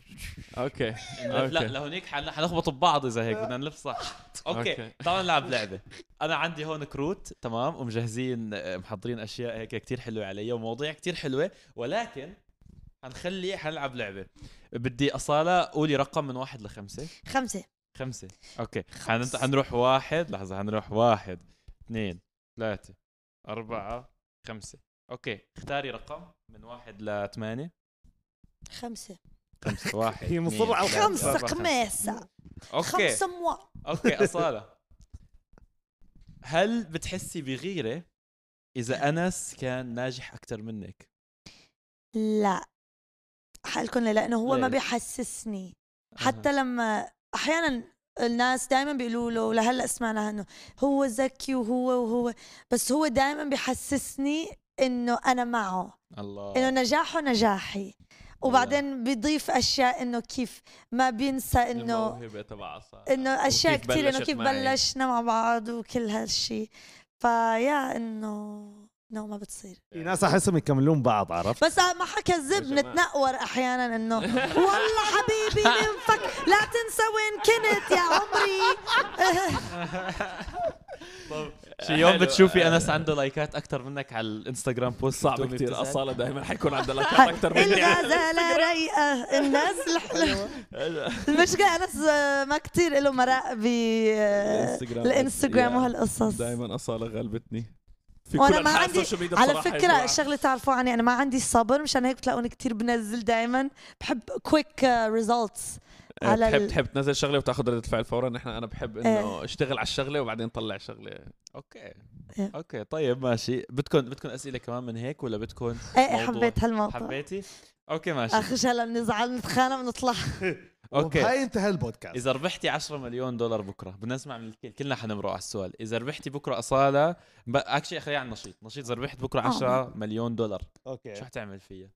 Speaker 2: اوكي
Speaker 5: لا
Speaker 2: أوكي.
Speaker 5: لهونيك حن- حنخبط ببعض اذا هيك بدنا نلفصح
Speaker 2: أوكي.
Speaker 5: اوكي تعال نلعب لعبه انا عندي هون كروت تمام ومجهزين آه، محضرين اشياء هيك كتير حلوه علي ومواضيع كتير حلوه ولكن حنخلي حنلعب لعبه بدي اصاله قولي رقم من واحد لخمسه
Speaker 4: خمسة
Speaker 5: خمسه اوكي حن... حنروح واحد لحظه حنروح واحد اثنين ثلاثه اربعه خمسه اوكي اختاري رقم من واحد لثمانيه
Speaker 4: خمسة
Speaker 5: خمسة واحد
Speaker 3: هي مصرة
Speaker 5: اثنين،
Speaker 3: على
Speaker 5: ثلاثة،
Speaker 4: خمسة
Speaker 5: أربعة،
Speaker 4: قماسة
Speaker 5: اوكي
Speaker 4: خمسة موا
Speaker 5: اوكي اصاله هل بتحسي بغيره اذا انس كان ناجح اكثر منك
Speaker 4: لا حقلكم ليه؟ لأنه هو ما
Speaker 5: ليش؟
Speaker 4: بيحسسني حتى لما احيانا الناس دائما بيقولوا له لهلا سمعنا انه هو ذكي وهو وهو بس هو دائما بيحسسني انه انا معه
Speaker 2: آه.
Speaker 4: انه
Speaker 5: الله
Speaker 4: نجاحه نجاحي وبعدين بيضيف اشياء انه كيف ما بينسى انه
Speaker 2: الموهبه تبع عصا
Speaker 4: انه اشياء
Speaker 2: وكيف
Speaker 4: كثير انه
Speaker 2: بلشت
Speaker 4: كيف
Speaker 2: معي.
Speaker 4: بلشنا مع بعض وكل هالشيء فيا انه انه ما بتصير
Speaker 3: في
Speaker 5: يعني.
Speaker 3: ناس احسهم يكملون بعض عرفت
Speaker 4: بس ما حكذب
Speaker 2: يا جماعة.
Speaker 4: نتنقور احيانا انه والله حبيبي ننفك لا تنسى وين كنت يا عمري
Speaker 5: شي يوم
Speaker 2: حلو.
Speaker 5: بتشوفي انس عنده لايكات اكثر منك على الانستغرام بوست
Speaker 2: صعب
Speaker 5: بتقومي
Speaker 2: كثير
Speaker 5: بتزعل.
Speaker 2: اصاله دائما حيكون عندها لقطات اكثر مني
Speaker 4: الغزالة رايقة الناس الحلوة المشكلة أنس آه، ما كتير له مرق ب آه،
Speaker 2: الانستغرام.
Speaker 4: الانستغرام
Speaker 2: يا.
Speaker 4: وهالقصص
Speaker 2: دائما اصاله غلبتني في
Speaker 4: وأنا
Speaker 2: كل
Speaker 4: ما
Speaker 2: أنحاء
Speaker 4: عندي-
Speaker 2: السوشيال ميديا
Speaker 4: على
Speaker 2: بصراحة
Speaker 4: فكرة
Speaker 2: يا جماعة.
Speaker 4: شغلة تعرفوا عني أنا ما عندي صبر مشان هيك بتلاقوني كتير بنزل دائما بحب آه، كويك ريزلتس على
Speaker 2: تحب
Speaker 4: ال-
Speaker 2: إيه، تحب تنزل شغله وتاخذ رده فعل فورا نحن انا بحب انه اشتغل على الشغله وبعدين طلع شغله
Speaker 5: اوكي
Speaker 4: إيه.
Speaker 5: اوكي طيب ماشي بدكم بدكم اسئله كمان من هيك ولا بدكم
Speaker 4: إيه
Speaker 5: موضوع.
Speaker 4: حبيت هالموضوع
Speaker 5: حبيتي اوكي ماشي
Speaker 4: أخش هلا بنزعل نتخانق بنطلع
Speaker 5: اوكي
Speaker 3: هاي انتهى البودكاست
Speaker 5: اذا ربحتي 10 مليون دولار بكره بدنا نسمع من الكل كلنا حنمرق على السؤال اذا ربحتي بكره اصاله اكشلي خلينا على النشيط نشيط اذا ربحت بكره
Speaker 4: آه.
Speaker 5: 10 مليون دولار شو
Speaker 3: اوكي
Speaker 5: حتعمل فيها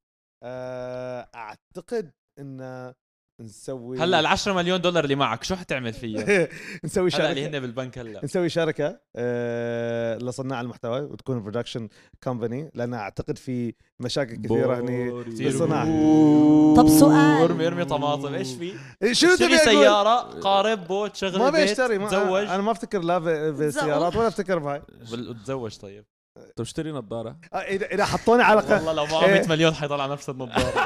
Speaker 3: آه، اعتقد ان نسوي
Speaker 5: هلا ال 10 مليون دولار اللي معك شو حتعمل فيها
Speaker 3: نسوي
Speaker 5: هلا اللي
Speaker 3: شركه
Speaker 5: هن بالبنك هلا
Speaker 3: نسوي شركه آه، لصناع المحتوى وتكون برودكشن كومباني لان اعتقد في مشاكل كثيره هني
Speaker 5: كتير
Speaker 3: بالصناعة.
Speaker 5: بو-
Speaker 4: طب سؤال.
Speaker 5: ارمي ارمي طماطم ايش في؟
Speaker 3: إيه، شو
Speaker 5: اشتري
Speaker 3: تبي اقول
Speaker 5: سيارة قارب بوت شغل
Speaker 3: ما
Speaker 5: بيت
Speaker 3: بيشتري ما
Speaker 5: تزوج
Speaker 3: انا ما افتكر لا ب- بالسيارات ولا افتكر بهاي
Speaker 5: بل- تزوج طيب
Speaker 2: طب اشتري نظاره
Speaker 3: آه، اذا اذا حطوني على ق-
Speaker 5: والله لو معه 100
Speaker 3: إيه.
Speaker 5: مليون حيضل على نفس النظارة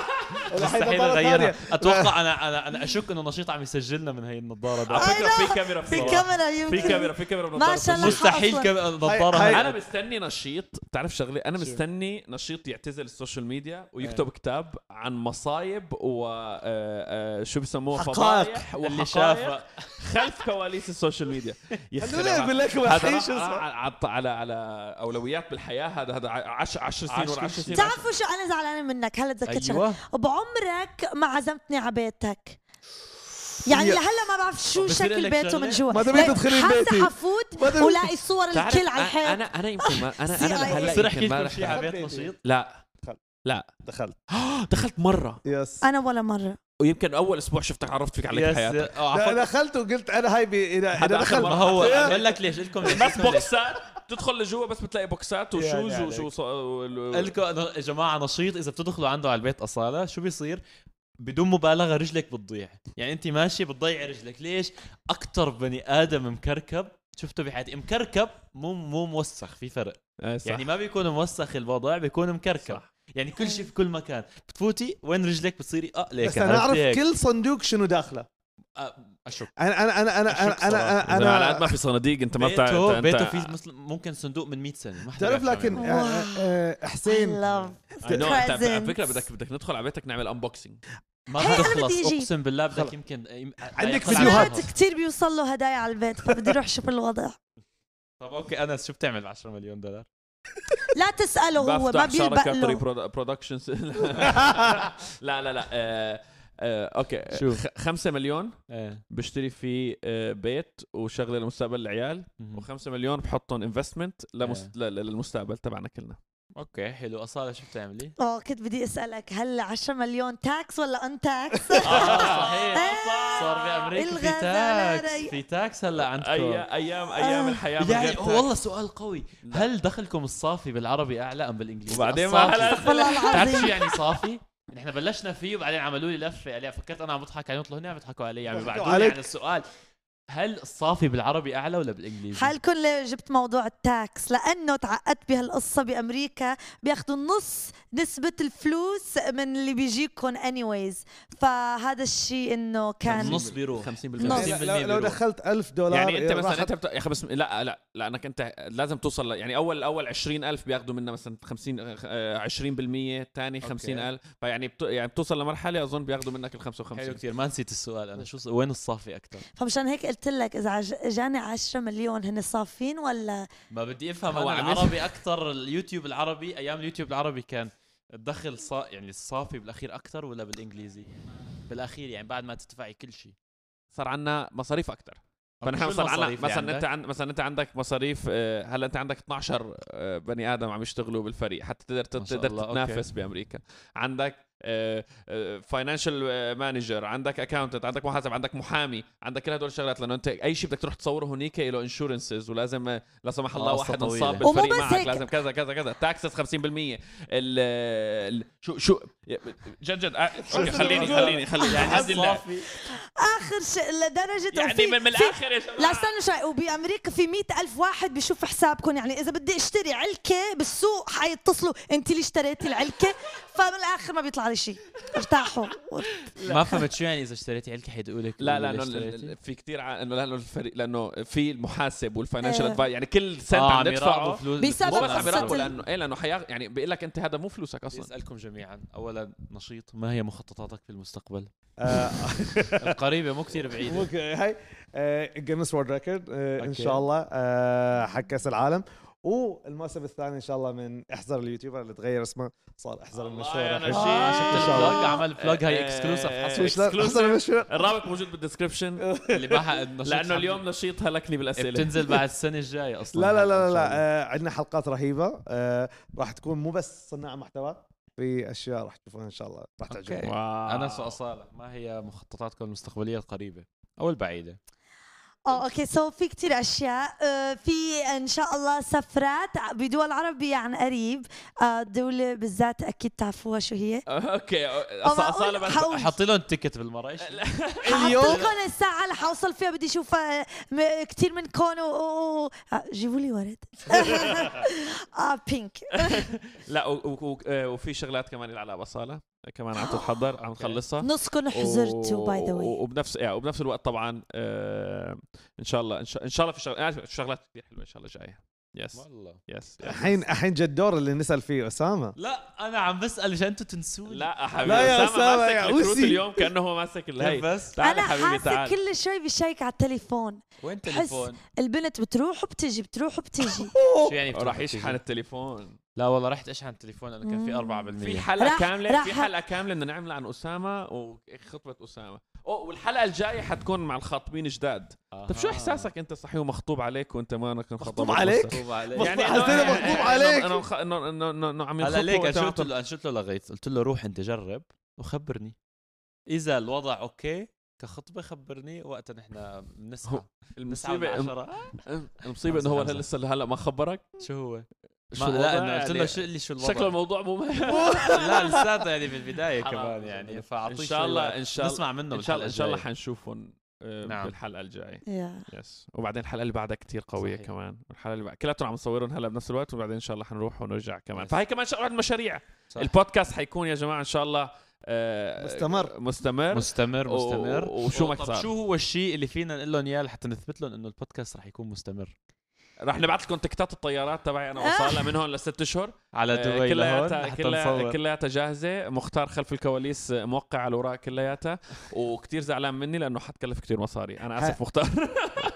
Speaker 3: إذا
Speaker 5: مستحيل
Speaker 3: حيطلع
Speaker 5: اغيرها
Speaker 3: ثانية.
Speaker 5: اتوقع انا انا انا اشك انه نشيط عم يسجلنا من هي النظارة
Speaker 2: على
Speaker 5: ده
Speaker 2: فكره في كاميرا
Speaker 4: آه، في
Speaker 2: بصراحة.
Speaker 4: كاميرا يمكن
Speaker 2: في كاميرا في كاميرا
Speaker 4: ما شاء الله.
Speaker 5: مستحيل
Speaker 4: أصلاً.
Speaker 5: كم نظارة
Speaker 3: هاي-
Speaker 5: هاي-
Speaker 2: انا مستني نشيط تعرف شغله انا
Speaker 3: شو؟
Speaker 2: مستني نشيط يعتزل السوشيال ميديا ويكتب
Speaker 4: إيه.
Speaker 2: كتاب عن مصايب و آه، آه، شو بسموه
Speaker 3: حقائق.
Speaker 2: فضايح
Speaker 5: اللي
Speaker 2: وحقائق
Speaker 5: شافها
Speaker 2: خلف كواليس السوشيال ميديا
Speaker 3: خلوني اقول لك وحي شو
Speaker 2: هذا
Speaker 5: آه.
Speaker 2: على-
Speaker 3: اسمه
Speaker 2: على على على اولويات بالحياه هذا هذا 10 10 سنين
Speaker 5: عشر
Speaker 2: ورا 10 سنين
Speaker 4: تعرفوا شو أنا زعلانة منك هلا تذكرت شغلة.
Speaker 5: ايوه
Speaker 4: بعمرك ما عزمتني على بيتك يعني
Speaker 3: يا-
Speaker 4: لهلا ما بعرف شو
Speaker 5: بصير
Speaker 4: شكل
Speaker 5: لك
Speaker 4: بيته
Speaker 5: شغلة؟
Speaker 4: من جوا
Speaker 3: ما تبي
Speaker 4: لا،
Speaker 3: تدخلي بيتي.
Speaker 4: حاسه
Speaker 3: ما
Speaker 4: حفوت
Speaker 3: تبي-
Speaker 4: ولاقي صور
Speaker 2: تعرف
Speaker 4: الكل على الحيط
Speaker 2: انا انا يمكن ما انا
Speaker 4: CIA.
Speaker 2: انا هلا
Speaker 5: بصير احكي
Speaker 2: يمكن ما
Speaker 5: لكم شيء
Speaker 2: رح-
Speaker 5: على بيت نشيط
Speaker 2: لا
Speaker 3: دخلت
Speaker 2: دخلت مره
Speaker 3: يس
Speaker 4: انا ولا مره
Speaker 2: ويمكن اول اسبوع شفتك عرفت فيك عليك بحياتك
Speaker 5: يس- آه، عفوا.
Speaker 3: لا، دخلت وقلت انا هاي بي- اذا
Speaker 2: هذا
Speaker 3: اذا
Speaker 2: آخر
Speaker 3: دخلت
Speaker 5: ما
Speaker 2: مرة.
Speaker 5: هو
Speaker 3: يا.
Speaker 5: بقول لك ليش لكم
Speaker 2: بس بوكسات تدخل لجوا بس بتلاقي بوكسات
Speaker 3: يعني
Speaker 2: وشوز
Speaker 3: عليك.
Speaker 2: وشو ص- وال- وال-
Speaker 5: لكم يا جماعه نشيط اذا بتدخلوا عنده على البيت اصاله شو بيصير؟ بدون مبالغه رجلك بتضيع، يعني انت ماشي بتضيع رجلك، ليش؟ اكثر بني ادم مكركب شفته بحياتي مكركب مو مو موسخ في فرق يعني
Speaker 2: يعني
Speaker 5: ما بيكون موسخ الوضع بيكون مكركب
Speaker 2: صح.
Speaker 5: يعني كل شيء في كل مكان بتفوتي وين رجلك بتصيري اه ليك
Speaker 3: بس انا اعرف كل صندوق شنو داخله
Speaker 5: اشك
Speaker 3: انا انا انا انا
Speaker 5: أشك
Speaker 3: انا انا,
Speaker 2: انا على
Speaker 3: أنا,
Speaker 2: قد ما في صناديق انت ما بتع...
Speaker 5: بيته
Speaker 2: انت-
Speaker 5: بيته
Speaker 2: انت
Speaker 5: في مثل ممكن صندوق من 100 سنه ما حدا
Speaker 3: تعرف
Speaker 5: بيعرف شو
Speaker 3: لكن
Speaker 5: عمله.
Speaker 3: آه، آه، آه،
Speaker 4: I
Speaker 3: حسين
Speaker 4: love
Speaker 2: I know، انت على
Speaker 4: presents.
Speaker 2: فكره بدك بدك ندخل على بيتك نعمل انبوكسينج
Speaker 5: ما
Speaker 4: هي أنا
Speaker 5: بتخلص
Speaker 4: بدي يجي.
Speaker 5: اقسم بالله بدك
Speaker 3: خلص.
Speaker 5: يمكن يم-
Speaker 3: عندك
Speaker 5: يقل عن
Speaker 3: فيديوهات.
Speaker 5: شهر.
Speaker 4: ساعات كثير بيوصل له هدايا على البيت فبدي اروح اشوف الوضع
Speaker 5: طب اوكي انس شو بتعمل 10 مليون دولار؟
Speaker 4: لا تساله هو ما
Speaker 2: بفتح
Speaker 4: بيلبق
Speaker 2: شركه بري
Speaker 4: له
Speaker 2: برودكشنز لا لا لا آه، آه، اوكي
Speaker 5: شو؟
Speaker 2: خ- خمسة مليون
Speaker 5: ايه
Speaker 2: بشتري فيه آه، بيت وشغله لمستقبل العيال و5 مليون بحطهم انفستمنت
Speaker 5: إيه.
Speaker 2: للمستقبل تبعنا كلنا
Speaker 5: اوكي حلو اصاله شو بتعملي؟
Speaker 4: اه كنت بدي اسالك هل 10 مليون تاكس ولا ان تاكس؟
Speaker 5: اه صحيح
Speaker 4: آه،
Speaker 5: صار بامريكا في
Speaker 4: الغزالة
Speaker 5: تاكس
Speaker 4: رايقة.
Speaker 5: في تاكس هلا عندكم
Speaker 2: ايام ايام ايام
Speaker 4: آه.
Speaker 2: الحياه من غير
Speaker 5: يعني
Speaker 2: تاكس.
Speaker 5: والله سؤال قوي
Speaker 2: لا.
Speaker 5: هل دخلكم الصافي بالعربي اعلى ام بالانجليزي؟
Speaker 2: وبعدين ما
Speaker 5: الصافي.
Speaker 2: هلا-
Speaker 4: والله
Speaker 5: بتعرف شو
Speaker 4: العظيم
Speaker 5: يعني صافي؟ نحن بلشنا فيه وبعدين عملوا لي لفه عليه فكرت انا عم بضحك عليهم طلعوا هن عم يضحكوا علي عم
Speaker 3: ضحكوا
Speaker 5: يبعدوني
Speaker 3: عليك.
Speaker 5: عن السؤال هل الصافي بالعربي اعلى ولا بالانجليزي؟
Speaker 4: حالكم ليه جبت موضوع التاكس لانه تعقدت بهالقصه بامريكا بياخذوا نص نسبه الفلوس من اللي بيجيكم anyways فهذا الشيء انه كان
Speaker 5: النص بيروح
Speaker 2: 50%
Speaker 4: نص.
Speaker 3: يعني لو, لو
Speaker 5: 50% بيروح.
Speaker 3: دخلت ألف دولار
Speaker 2: يعني انت
Speaker 3: راحت-
Speaker 2: مثلا انت بت... يا أخي بس لا لا لانك انت لازم توصل ل... يعني اول اول 20000 بياخذوا منا مثلا 50 آه، 20% ثاني 50000 فيعني بت... يعني بتوصل لمرحله اظن بياخذوا منك ال
Speaker 5: حلو
Speaker 2: 55
Speaker 5: كثير ما نسيت السؤال انا شو وين الصافي اكثر؟
Speaker 4: فمشان هيك قلت لك اذا عج- اجاني 10 مليون هن صافين ولا
Speaker 5: ما بدي افهم
Speaker 2: هو
Speaker 5: انا
Speaker 2: عم
Speaker 5: العربي اكثر اليوتيوب العربي ايام اليوتيوب العربي كان الدخل صا يعني الصافي بالاخير اكثر ولا بالانجليزي؟ بالاخير يعني بعد ما تدفعي كل شيء
Speaker 2: صار عنا مصاريف اكثر
Speaker 5: طب
Speaker 2: فنحن
Speaker 5: شو
Speaker 2: مثلا عنا
Speaker 5: المصاريف يعني؟ اللي
Speaker 2: مثلا
Speaker 5: عندك؟
Speaker 2: انت عن... مثلا انت عندك مصاريف آه، هلا انت عندك 12 آه، بني ادم عم يشتغلوا بالفريق حتى تقدر
Speaker 5: ما شاء
Speaker 2: تقدر
Speaker 5: الله،
Speaker 2: تتنافس بامريكا عندك آه، فاينانشال مانجر عندك اكاونتنت عندك محاسب عندك محامي عندك كل هدول الشغلات لانه انت اي شيء بدك تروح تصوره هنيك له انشورنسز ولازم آه، لا سمح الله
Speaker 5: آه،
Speaker 2: واحد
Speaker 5: طويلة.
Speaker 2: انصاب
Speaker 4: ومو
Speaker 2: بالفريق
Speaker 4: بس
Speaker 2: معك
Speaker 4: هيك.
Speaker 2: لازم كذا كذا كذا تاكسس 50% ال- ال شو شو جد جد آه، أوكي، خليني خليني خليني يعني عندي اللعب.
Speaker 5: الصافي
Speaker 4: اخر شيء لدرجه
Speaker 2: يعني
Speaker 4: وفي-
Speaker 2: من, من
Speaker 4: في-
Speaker 2: الاخر يا جماعه
Speaker 4: لا استنوا شوي وبامريكا في مئة ألف واحد بيشوف حسابكم يعني إذا بدي اشتري علكة بالسوق حيتصلوا أنت اللي اشتريتي العلكة فبالآخر ما بيطلع لي شيء ارتاحوا
Speaker 5: ما فهمت شو يعني اذا اشتريتي علكه حيدقوا لك
Speaker 2: لا لا
Speaker 5: ليش
Speaker 2: انه
Speaker 5: اشتريتي؟
Speaker 2: ال- ال- في كثير ع... انه لانه الفريق لانه في المحاسب والفاينانشال
Speaker 3: آه.
Speaker 4: إيه.
Speaker 2: ادفايس يعني كل سنت
Speaker 5: آه،
Speaker 2: عم ندفعه
Speaker 4: بسبب
Speaker 2: مو بس
Speaker 4: قصة
Speaker 2: عم يراقبوا
Speaker 4: ال-
Speaker 2: لانه ايه لانه حياخ يعني بيقول لك انت هذا مو فلوسك
Speaker 5: بدي
Speaker 2: اصلا
Speaker 5: اسالكم جميعا اولا نشيط ما هي مخططاتك في المستقبل
Speaker 3: آه،
Speaker 5: القريبه مو كثير بعيده
Speaker 3: ممكن هاي آه، جينيس وورد ريكورد ان
Speaker 5: أوكي.
Speaker 3: شاء الله آه، حق كاس العالم والموسم الثاني ان شاء الله من احذر اليوتيوبر اللي تغير اسمه صار احذر المشهور
Speaker 2: أنا
Speaker 3: الحين.
Speaker 2: شيء-
Speaker 4: آه.
Speaker 3: شفت
Speaker 4: شفت
Speaker 3: الفلوج؟
Speaker 5: الفلوج عمل فلوج
Speaker 2: إيه.
Speaker 5: هاي اكسكلوسيف
Speaker 3: شو شلون؟ احذر المشهور
Speaker 2: الرابط موجود بالديسكربشن
Speaker 5: اللي معها النشيط
Speaker 2: لانه اليوم نشيط هلكني بالاسئله
Speaker 5: بتنزل بعد السنه الجايه اصلا
Speaker 3: لا لا لا لا, لا. آه عندنا حلقات رهيبه آه راح تكون مو بس صناع محتوى في اشياء راح تشوفوها ان شاء الله راح
Speaker 5: أوكي.
Speaker 3: تعجبكم
Speaker 2: واو.
Speaker 5: انس واصاله ما هي مخططاتكم المستقبليه القريبه او البعيده
Speaker 4: اه اوكي سو في كتير اشياء آه، في ان شاء الله سفرات بدول عربيه عن قريب آه، دوله بالذات اكيد تعرفوها شو هي
Speaker 2: اوكي أص-
Speaker 4: أو معقول
Speaker 2: اصاله بس
Speaker 4: حقول.
Speaker 5: حطي لهم تيكت بالمره ايش
Speaker 3: اليوم-
Speaker 4: حاطلكم الساعه اللي حوصل فيها بدي اشوف آه، م- كتير منكم و- و- و- آه، جيبوا لي ورد اه بينك
Speaker 2: لا و- و- و- آه، وفي شغلات كمان اللي على بصاله كمان عم تتحضر عم
Speaker 5: أوكي.
Speaker 2: تخلصها
Speaker 4: نصكم حزرتوا باي ذا واي
Speaker 2: وبنفس يعني وبنفس الوقت طبعا آه ان شاء الله ان شاء, إن شاء الله في شغل... آه، شغلات كثير حلوه ان شاء الله جايه يس
Speaker 5: والله
Speaker 2: يس
Speaker 3: الحين الحين جا الدور اللي نسال فيه اسامه
Speaker 5: لا انا عم بسال مشان انتم تنسوني
Speaker 2: لا حبيبي
Speaker 3: لا يا أسامة،
Speaker 2: ماسك
Speaker 3: يا
Speaker 2: الكروت
Speaker 3: أوسي.
Speaker 2: اليوم كانه هو ماسك الهي
Speaker 5: بس
Speaker 2: تعال
Speaker 4: انا
Speaker 2: حبيبي
Speaker 4: حاسه
Speaker 2: تعال
Speaker 4: كل شوي بشيك على التليفون
Speaker 5: وين
Speaker 4: بحس-
Speaker 5: تليفون
Speaker 4: البنت بتروح وبتجي بتروح وبتجي
Speaker 5: شو يعني بتروح
Speaker 2: راح يشحن
Speaker 5: تيجي؟
Speaker 2: التليفون
Speaker 5: لا والله رحت اشحن تليفون لانه كان في
Speaker 4: مم.
Speaker 5: 4%
Speaker 2: في حلقه
Speaker 4: راح-
Speaker 2: كامله في
Speaker 4: راح-
Speaker 2: حلقه كامله بدنا نعملها عن اسامه وخطبه اسامه اوه والحلقه الجايه حتكون مع الخاطبين جداد طب شو
Speaker 5: آها.
Speaker 2: احساسك انت صحيح ومخطوب عليك وانت ما انك مخطوب
Speaker 3: عليك؟
Speaker 5: مخطوب عليك.
Speaker 3: مخطوب
Speaker 5: يعني
Speaker 2: إنه-
Speaker 3: حسيت
Speaker 2: إنه-
Speaker 3: مخطوب
Speaker 2: إنه-
Speaker 3: عليك.
Speaker 2: إنه- إنه- انه انه انه إنه عم
Speaker 5: هلا
Speaker 2: ينخطبوا
Speaker 5: ليك
Speaker 2: وأنت
Speaker 5: أنا
Speaker 2: عم
Speaker 5: شو قلت له أنا شو قلت له لغيت قلت له روح انت جرب وخبرني اذا الوضع اوكي كخطبه خبرني وقتها نحن بنسعى
Speaker 2: هو-
Speaker 5: نسعى من
Speaker 2: المصيبه
Speaker 5: عشرة
Speaker 2: المصيبه انه هو لسه هلا ما خبرك
Speaker 5: شو هو؟
Speaker 2: شو
Speaker 5: ما لا
Speaker 2: الوضع؟
Speaker 5: انه قلت له
Speaker 2: يعني
Speaker 5: شو اللي شو الوضع؟
Speaker 2: شكله الموضوع مو
Speaker 5: لا لساته يعني بالبدايه
Speaker 2: حرام.
Speaker 5: كمان يعني فاعطيه
Speaker 2: ان شاء الله ان شاء الله
Speaker 5: نسمع منه
Speaker 2: ان شاء الله ان شاء الله
Speaker 5: بالحلقة
Speaker 2: حنشوفهم آه،
Speaker 5: نعم.
Speaker 2: بالحلقه الجايه
Speaker 4: يا
Speaker 2: يس وبعدين الحلقه اللي بعدها كتير قويه
Speaker 5: صحيح.
Speaker 2: صحيح. كمان والحلقه اللي بعد كلاتهم عم نصورهم هلا بنفس الوقت وبعدين ان شاء الله حنروح ونرجع كمان
Speaker 5: يس.
Speaker 2: فهي كمان شغله من المشاريع
Speaker 5: صح.
Speaker 2: البودكاست حيكون يا جماعه ان شاء الله آه،
Speaker 3: مستمر.
Speaker 2: مستمر
Speaker 5: مستمر
Speaker 2: و-
Speaker 5: مستمر
Speaker 2: وشو ما
Speaker 5: طب
Speaker 2: صار.
Speaker 5: شو هو الشيء اللي فينا نقول لهم اياه لحتى نثبت لهم انه البودكاست رح يكون مستمر
Speaker 2: رح نبعث لكم تكتات الطيارات تبعي انا وصالة من هون لست اشهر
Speaker 5: على
Speaker 2: آه،
Speaker 5: دبي لهون
Speaker 2: كلياتها
Speaker 5: لحتى
Speaker 2: كلياتها
Speaker 5: نصور
Speaker 2: كلياتها جاهزه مختار خلف الكواليس آه، موقع على الوراق كلياتها وكتير زعلان مني لانه حتكلف كتير مصاري انا اسف مختار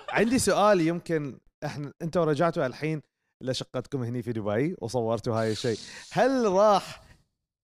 Speaker 3: عندي سؤال يمكن احنا انتوا رجعتوا الحين لشقتكم هني في دبي وصورتوا هاي الشيء هل راح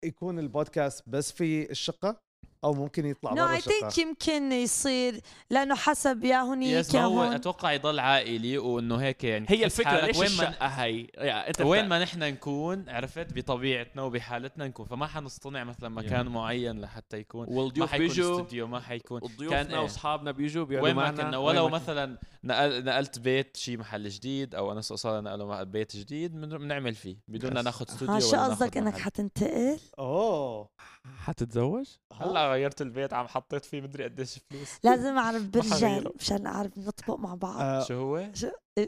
Speaker 3: يكون البودكاست بس في الشقه او ممكن يطلع
Speaker 4: نو
Speaker 3: برا
Speaker 4: اي
Speaker 3: الشقه
Speaker 4: ثينك يمكن يصير لانه حسب يا هنيك
Speaker 5: يس
Speaker 4: يا
Speaker 5: ما هو
Speaker 4: هون
Speaker 5: اتوقع يضل عائلي وانه هيك يعني
Speaker 2: هي
Speaker 5: تحس
Speaker 2: الفكره
Speaker 5: حالك
Speaker 2: ليش
Speaker 5: وين ما
Speaker 2: الشقه هي يعني انت
Speaker 5: وين ما نحن نكون عرفت بطبيعتنا وبحالتنا نكون فما حنصطنع مثلا مكان معين لحتى يكون ما
Speaker 2: والضيوف
Speaker 5: حيكون
Speaker 2: بيجوا
Speaker 5: استوديو ما حيكون كان
Speaker 2: ضيوفنا
Speaker 5: إيه.
Speaker 2: واصحابنا بيجوا بيقعدوا
Speaker 5: وين ما
Speaker 2: معنا
Speaker 5: كنا
Speaker 2: وين
Speaker 5: ولو
Speaker 2: ما
Speaker 5: مثلا نقل نقلت بيت شي محل جديد او انس وصلنا نقلوا مع- بيت جديد بن- بنعمل فيه بدون ما
Speaker 2: بس.
Speaker 5: ناخذ استوديو
Speaker 4: ها آه، شو
Speaker 5: ولا ناخذ
Speaker 4: قصدك انك
Speaker 5: محل.
Speaker 4: حتنتقل؟
Speaker 3: اوه
Speaker 2: حتتزوج؟
Speaker 5: هلا غيرت البيت عم حطيت فيه مدري قديش فلوس
Speaker 4: لازم اعرف بالرجال
Speaker 5: حغيره.
Speaker 4: مشان اعرف نطبق مع بعض
Speaker 3: آه،
Speaker 5: شو هو؟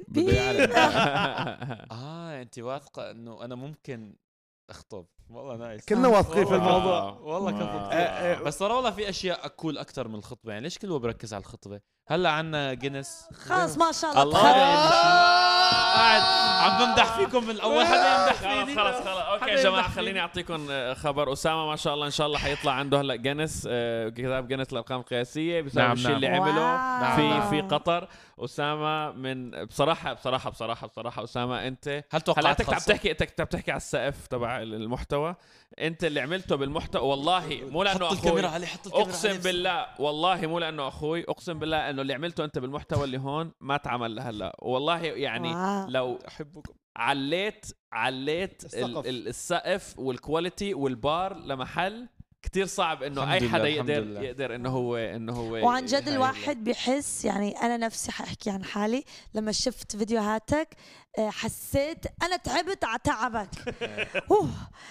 Speaker 2: بده يعلم
Speaker 5: اه انت واثقه انه انا ممكن اخطب والله نايس
Speaker 3: كنا واثقين في
Speaker 5: والله.
Speaker 3: الموضوع
Speaker 5: والله كفو
Speaker 2: آه.
Speaker 5: كتير.
Speaker 3: آه، آه.
Speaker 5: بس صار والله في اشياء اكول اكثر من الخطبه يعني ليش كل هو بركز على الخطبه هلا عنا جينيس
Speaker 4: خلص ما شاء
Speaker 5: الله
Speaker 4: الله طيب. تخرب.
Speaker 5: قاعد عم بمدح فيكم من اول حدا يمدح فيني
Speaker 2: خلص خلص خلص اوكي يا
Speaker 5: حدا
Speaker 2: جماعه
Speaker 5: يمدح فيني.
Speaker 2: خليني اعطيكم آه، خبر اسامه ما شاء الله ان شاء الله حيطلع عنده هلا جينيس آه، كتاب جينيس الارقام القياسيه بسبب
Speaker 5: نعم،
Speaker 2: الشيء
Speaker 5: نعم.
Speaker 2: اللي عمله
Speaker 4: واو.
Speaker 5: آه.
Speaker 2: في في قطر اسامه من بصراحه بصراحه بصراحه بصراحه اسامه انت
Speaker 5: هل
Speaker 2: هلا انت
Speaker 5: توقعت
Speaker 2: كنت عم
Speaker 5: خلصت؟
Speaker 2: تحكي انت كنت عم تحكي على السقف تبع المحتوى انت اللي عملته بالمحتوى والله مو لانه
Speaker 5: حط
Speaker 2: اخوي
Speaker 5: الكاميرا عليه حط الكاميرا
Speaker 2: اقسم
Speaker 5: عليه.
Speaker 2: بالله والله مو لانه اخوي اقسم بالله انه اللي عملته انت بالمحتوى اللي هون ما تعمل لهلا والله
Speaker 5: آه.
Speaker 2: يعني
Speaker 4: واو.
Speaker 2: لو احبكم عليت عليت ال-
Speaker 3: السقف.
Speaker 2: ال- السقف والكواليتي والبار لمحل كتير صعب انه
Speaker 5: الحمد
Speaker 2: اي
Speaker 5: لله،
Speaker 2: حدا
Speaker 5: الحمد
Speaker 2: يقدر
Speaker 5: لله.
Speaker 2: يقدر انه هو انه هو
Speaker 4: وعن جد
Speaker 2: يهاي
Speaker 4: الواحد بحس يعني انا نفسي حاحكي عن حالي لما شفت فيديوهاتك آه، حسيت انا تعبت على تعبك أوه. لا، يعني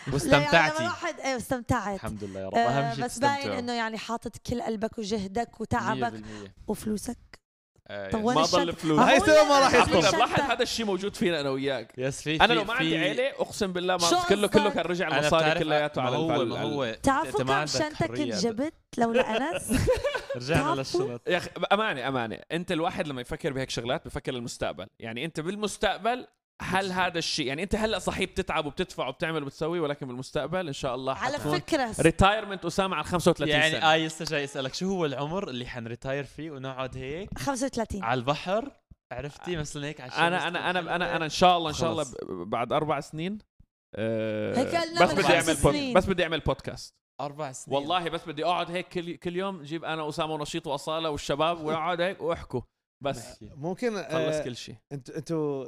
Speaker 4: لما
Speaker 5: واستمتعتي
Speaker 4: الواحد ايه استمتعت
Speaker 5: الحمد لله يا رب
Speaker 4: آه،
Speaker 5: اهم شيء
Speaker 4: بس باين انه يعني حاطط كل قلبك وجهدك وتعبك وفلوسك
Speaker 5: آه،
Speaker 4: طب وين
Speaker 2: ما
Speaker 4: الشنطة؟
Speaker 2: ضل فلوس.
Speaker 4: هو
Speaker 3: هاي
Speaker 4: وين
Speaker 3: سوا ما راح
Speaker 4: الشنطة؟
Speaker 3: يطلع.
Speaker 2: الحمد لله، بلاحظ هذا الشيء موجود فينا انا وياك
Speaker 5: يس في
Speaker 2: انا
Speaker 5: في-
Speaker 2: لو ما
Speaker 5: في-
Speaker 2: عندي عيله اقسم بالله
Speaker 4: شو
Speaker 2: ما كله كله
Speaker 4: قصدك؟
Speaker 2: كان رجع
Speaker 5: أنا
Speaker 2: مصاري
Speaker 5: بتعرف
Speaker 2: كلياته
Speaker 5: ما
Speaker 2: على
Speaker 5: هو-
Speaker 2: على-
Speaker 5: ما
Speaker 2: على-
Speaker 5: هو أنت
Speaker 4: تعرفوا
Speaker 5: ما
Speaker 4: كم
Speaker 5: عندك
Speaker 4: شنطة
Speaker 5: حرية.
Speaker 4: كنت جبت لولا أنس؟
Speaker 5: رجعنا
Speaker 4: تعرفوا؟
Speaker 5: للشنط
Speaker 2: يا اخي امانه امانه انت الواحد لما يفكر بهيك شغلات بفكر للمستقبل يعني انت بالمستقبل هل هذا الشيء يعني انت هلا صحيح بتتعب وبتدفع وبتعمل وبتسوي ولكن بالمستقبل ان شاء الله
Speaker 4: على فكرة
Speaker 2: ريتايرمنت اسامه على 35 يعني
Speaker 5: يعني
Speaker 2: سنه
Speaker 5: اه لسه جاي اسالك شو هو العمر اللي حنريتاير فيه ونقعد هيك
Speaker 4: 35
Speaker 5: على البحر عرفتي مثلا هيك على الشمس
Speaker 2: انا انا انا انا انا ان شاء الله ان شاء الله
Speaker 5: خلص.
Speaker 2: ب- بعد اربع سنين آه،
Speaker 4: هيك قالنا
Speaker 2: بس
Speaker 5: من
Speaker 2: بدي
Speaker 5: خمس
Speaker 2: اعمل
Speaker 4: سنين.
Speaker 2: بود- بس بدي اعمل بودكاست
Speaker 5: اربع سنين
Speaker 2: والله بس بدي اقعد هيك كل كل يوم جيب انا اسامه ونشيط واصاله والشباب ونقعد هيك واحكوا
Speaker 4: نعم.
Speaker 2: بس
Speaker 5: بحكي.
Speaker 3: ممكن
Speaker 2: خلص
Speaker 3: آه،
Speaker 2: كل شيء
Speaker 3: انتوا انتوا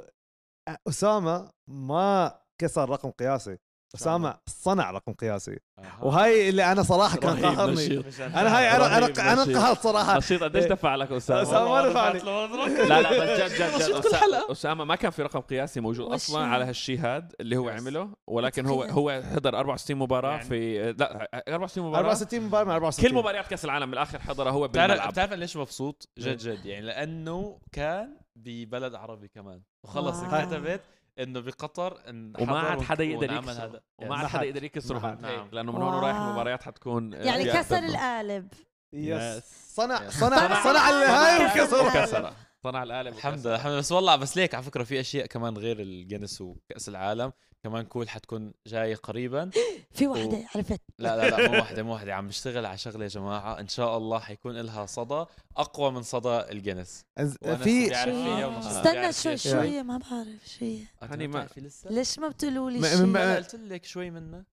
Speaker 3: آه، اسامه ما كسر رقم قياسي اسامه صنع رقم قياسي
Speaker 5: أها.
Speaker 3: وهاي اللي انا صراحه كان
Speaker 2: رهيب
Speaker 3: قهرني
Speaker 2: نشيط.
Speaker 5: مشان
Speaker 3: انا هاي انا
Speaker 2: رهيب
Speaker 3: انا انا
Speaker 2: نشيط.
Speaker 3: انقهرت
Speaker 4: آه،
Speaker 3: صراحه
Speaker 2: نشيط قديش
Speaker 3: إيه.
Speaker 2: دفع لك اسامه؟
Speaker 3: أسامة. ما
Speaker 5: والله
Speaker 3: رفعني.
Speaker 5: رفعت المضرب.
Speaker 2: لا لا بس جد جد جد
Speaker 5: نشيط كل
Speaker 2: أسا-
Speaker 5: حلقة.
Speaker 2: اسامه ما كان في رقم قياسي موجود
Speaker 4: وش
Speaker 2: اصلا
Speaker 4: هو؟
Speaker 2: على هالشيء هذا اللي هو
Speaker 5: Yes.
Speaker 2: عمله ولكن هو
Speaker 4: Yes.
Speaker 2: هو حضر 64 مباراه
Speaker 5: يعني.
Speaker 2: في لا 64 مباراه
Speaker 3: 64 مباراه من 64
Speaker 2: كل مباريات كاس العالم بالاخر حضرها هو
Speaker 5: بتعرف
Speaker 2: بالملعب
Speaker 5: بتعرف أنا ليش مبسوط
Speaker 2: إيه.
Speaker 5: جد جد يعني لانه كان ببلد عربي كمان وخلص
Speaker 4: واو.
Speaker 5: انكتبت انه بقطر انحضر
Speaker 2: وما عاد
Speaker 5: ونك-
Speaker 2: حدا يقدر
Speaker 5: ونعمل
Speaker 2: يكسره
Speaker 5: هذا يعني
Speaker 2: وما عاد
Speaker 3: نعم.
Speaker 2: حدا يقدر يكسره
Speaker 3: نعم.
Speaker 2: بعد هيك،
Speaker 5: نعم.
Speaker 2: لانه من هون ورايح
Speaker 4: واو.
Speaker 2: المباريات حتكون
Speaker 3: آه،
Speaker 4: يعني
Speaker 2: في
Speaker 4: كسر
Speaker 2: أكثر من-
Speaker 4: القالب
Speaker 3: يس
Speaker 5: يس.
Speaker 3: صنع
Speaker 5: يس.
Speaker 3: صنع
Speaker 2: آه،
Speaker 4: صنع-
Speaker 3: صنع اللي هاي
Speaker 4: صنع-
Speaker 3: وكسر
Speaker 4: صنع-
Speaker 2: وكسره صنع القالب
Speaker 5: الحمد
Speaker 2: وكسره.
Speaker 5: لله الحمد لله بس والله بس ليك على فكره في اشياء كمان غير الجنس وكاس العالم كمان كول حتكون جايه قريبا
Speaker 4: في وحدة عرفت
Speaker 5: لا لا لا مو واحده مو واحده عم نشتغل على شغله يا جماعه ان شاء الله حيكون لها صدى اقوى من صدى الجنس وأنا
Speaker 3: إيه، في
Speaker 5: بدي أعرف فيها ومبسوط
Speaker 4: آه. استنى
Speaker 5: بعرف
Speaker 4: شوي
Speaker 5: فيها
Speaker 4: شو هي ما بعرف شو هي
Speaker 5: أنت
Speaker 2: هني ما-
Speaker 5: بتعرفي لسه
Speaker 4: ليش ما بتقولوا لي
Speaker 3: ما-
Speaker 4: شيء
Speaker 3: ما-
Speaker 5: لا، قلت لك شوي منها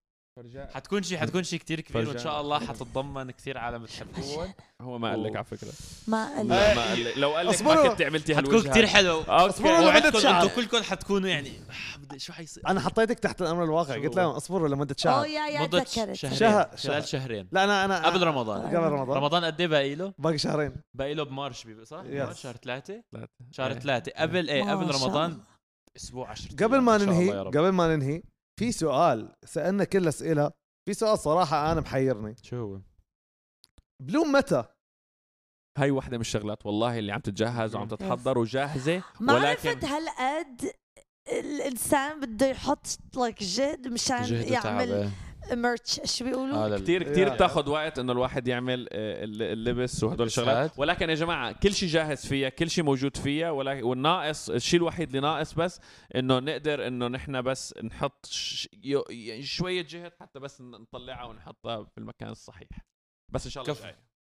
Speaker 5: أه، حتكون شيء حتكون شيء كثير كبير وان شاء الله حتتضمن كثير عالم بتحبوهم
Speaker 2: هو ما قال لك على فكره
Speaker 4: ما قال لي.
Speaker 2: لا، ما قال لك لو قال لك
Speaker 3: اصبروا.
Speaker 2: ما كنت عملتي هالوجه
Speaker 5: حتكون كثير حلو
Speaker 3: اصبروا
Speaker 2: اوكي
Speaker 3: لمدة
Speaker 5: وعدكم
Speaker 3: شهر.
Speaker 5: انتم كلكم حتكونوا يعني آه، بدي- شو حيصير
Speaker 3: انا حطيتك تحت الامر الواقع
Speaker 5: شو آه،
Speaker 3: قلت
Speaker 5: هو؟
Speaker 3: لهم اصبروا لمده
Speaker 4: اوه
Speaker 3: شهر
Speaker 4: آه، يا يا
Speaker 5: مدة
Speaker 4: تذكرت
Speaker 5: شهرين
Speaker 3: شهر- شهر.
Speaker 5: خلال شهرين
Speaker 3: لا انا انا
Speaker 5: قبل رمضان
Speaker 3: قبل رمضان
Speaker 5: رمضان قد ايه باقي له؟
Speaker 3: باقي شهرين
Speaker 5: باقي له بمارش بيبقى صح؟
Speaker 3: Yes.
Speaker 5: مارش شهر ثلاثة؟
Speaker 2: ثلاثة.
Speaker 5: شهر
Speaker 2: إيه.
Speaker 5: ثلاثة قبل ايه
Speaker 4: ما
Speaker 5: قبل
Speaker 4: شاء
Speaker 5: رمضان
Speaker 4: الله.
Speaker 5: اسبوع 10
Speaker 3: قبل ما
Speaker 5: إن شاء الله
Speaker 3: ننهي
Speaker 5: يا رب.
Speaker 3: قبل ما ننهي في سؤال سالنا كل اسئله في سؤال صراحه انا محيرني
Speaker 5: شو هو؟
Speaker 3: بلوم متى
Speaker 2: هاي واحدة من الشغلات والله اللي عم تتجهز وعم تتحضر وجاهزة
Speaker 4: ما
Speaker 2: ولكن
Speaker 4: عرفت هالقد الانسان بده يحط لك جهد مشان
Speaker 5: جهد
Speaker 4: يعمل
Speaker 5: وتعب
Speaker 4: مرتش شو بيقولوا
Speaker 2: كثير
Speaker 3: يا.
Speaker 2: كثير بتاخذ وقت انه الواحد يعمل آه، الل- اللبس وهدول الشغلات
Speaker 5: اللبسات.
Speaker 2: ولكن يا جماعة كل شيء جاهز فيها كل شيء موجود فيها ولكن والناقص الشيء الوحيد اللي ناقص بس انه نقدر انه نحن بس نحط ش- يو- يعني شوية جهد حتى بس ن- نطلعها ونحطها في المكان الصحيح بس ان شاء الله
Speaker 5: كفو.
Speaker 2: جاي.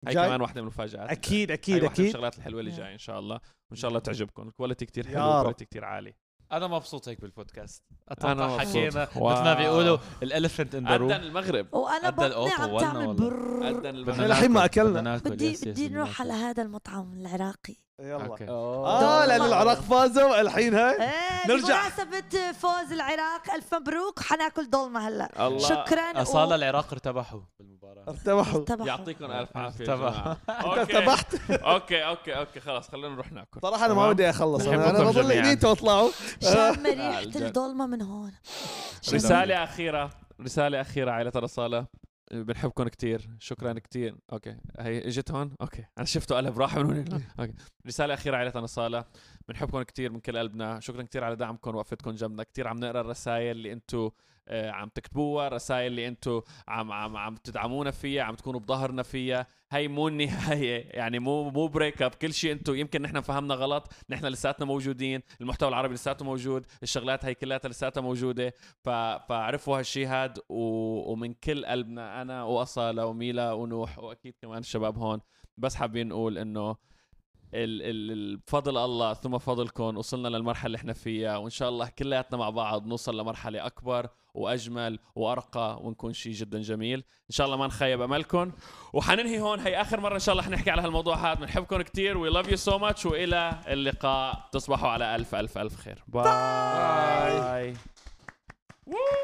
Speaker 2: هاي
Speaker 3: جاي؟
Speaker 2: كمان واحدة من المفاجآت
Speaker 3: اكيد
Speaker 2: هاي
Speaker 3: اكيد
Speaker 2: واحدة من
Speaker 3: اكيد
Speaker 2: الشغلات الحلوة اللي
Speaker 4: Yeah.
Speaker 2: جاية ان شاء الله وان شاء الله تعجبكم الكواليتي كثير
Speaker 3: يا
Speaker 2: حلو
Speaker 3: رب.
Speaker 2: الكواليتي كثير عالي
Speaker 5: انا مبسوط هيك بالبودكاست
Speaker 2: أنا
Speaker 5: اتوقع
Speaker 2: مبسوط.
Speaker 5: حكينا
Speaker 2: واو.
Speaker 5: مثل ما بيقولوا الالفنت ان ذا
Speaker 2: عدن
Speaker 5: روم
Speaker 2: المغرب
Speaker 4: وانا
Speaker 5: أدى
Speaker 4: بطني
Speaker 5: الأوفر
Speaker 4: عم
Speaker 5: ولنا
Speaker 4: تعمل
Speaker 5: والله.
Speaker 4: برر
Speaker 2: عدن
Speaker 3: بدنا
Speaker 2: المغرب
Speaker 3: نحكي. الحين ما أكلنا.
Speaker 4: بدي بدي نروح على هذا المطعم العراقي
Speaker 3: يلا
Speaker 2: آه.
Speaker 3: اه لان العراق فازوا الحين هاي
Speaker 4: ايه
Speaker 3: نرجع.
Speaker 4: بمناسبة فوز العراق الف مبروك حناكل ضلمة هلا
Speaker 2: الله
Speaker 4: شكرا
Speaker 5: اصاله العراق ارتبحوا بالمباراه
Speaker 3: ارتبحوا
Speaker 4: طبعا
Speaker 2: يعطيكم الف عافيه
Speaker 5: تبع.
Speaker 2: تبع
Speaker 3: ارتبحت
Speaker 2: اوكي اوكي اوكي خلاص خلينا نروح ناكل
Speaker 3: صراحه انا ما
Speaker 5: تمام.
Speaker 3: ودي اخلص انا
Speaker 5: بحبكم
Speaker 3: أنا بضل
Speaker 5: جميعاً.
Speaker 3: ايديته واطلعوا
Speaker 4: شم
Speaker 2: آه،
Speaker 4: ريحة
Speaker 2: الجنة.
Speaker 4: الضلمة من هون شم-
Speaker 2: رسالة أخيرة رسالة أخيرة عائلة الرسالة بنحبكم كتير شكرا كتير اوكي هي اجت هون اوكي انا شفته قلب راح من هون اوكي رساله اخيره عائله الرسالة بنحبكم كتير من كل قلبنا شكرا كتير على دعمكم وقفتكم جنبنا كتير عم نقرا الرسائل اللي انتم عم تكتبوها الرسائل اللي انتم عم عم عم تدعمونا فيها عم تكونوا بظهرنا فيها هي مو النهايه يعني مو مو بريك اب كل شيء انتم يمكن نحن فهمنا غلط نحن لساتنا موجودين المحتوى العربي لساته موجود الشغلات هي كلها لساتها موجوده ف... فعرفوا هالشيء هاد و... ومن كل قلبنا انا واصاله وميلا ونوح واكيد كمان الشباب هون بس حابين نقول انه ال... ال... ال- بفضل الله ثم فضلكم وصلنا للمرحله اللي احنا فيها وان شاء الله كلياتنا مع بعض نوصل لمرحله اكبر واجمل وارقى ونكون شيء جدا جميل ان شاء الله ما نخيب املكم وحننهي هون هي اخر مره ان شاء الله حنحكي على هالموضوع هذا بنحبكم كثير وي لاف يو سو ماتش والى اللقاء تصبحوا على الف الف الف خير باي, باي.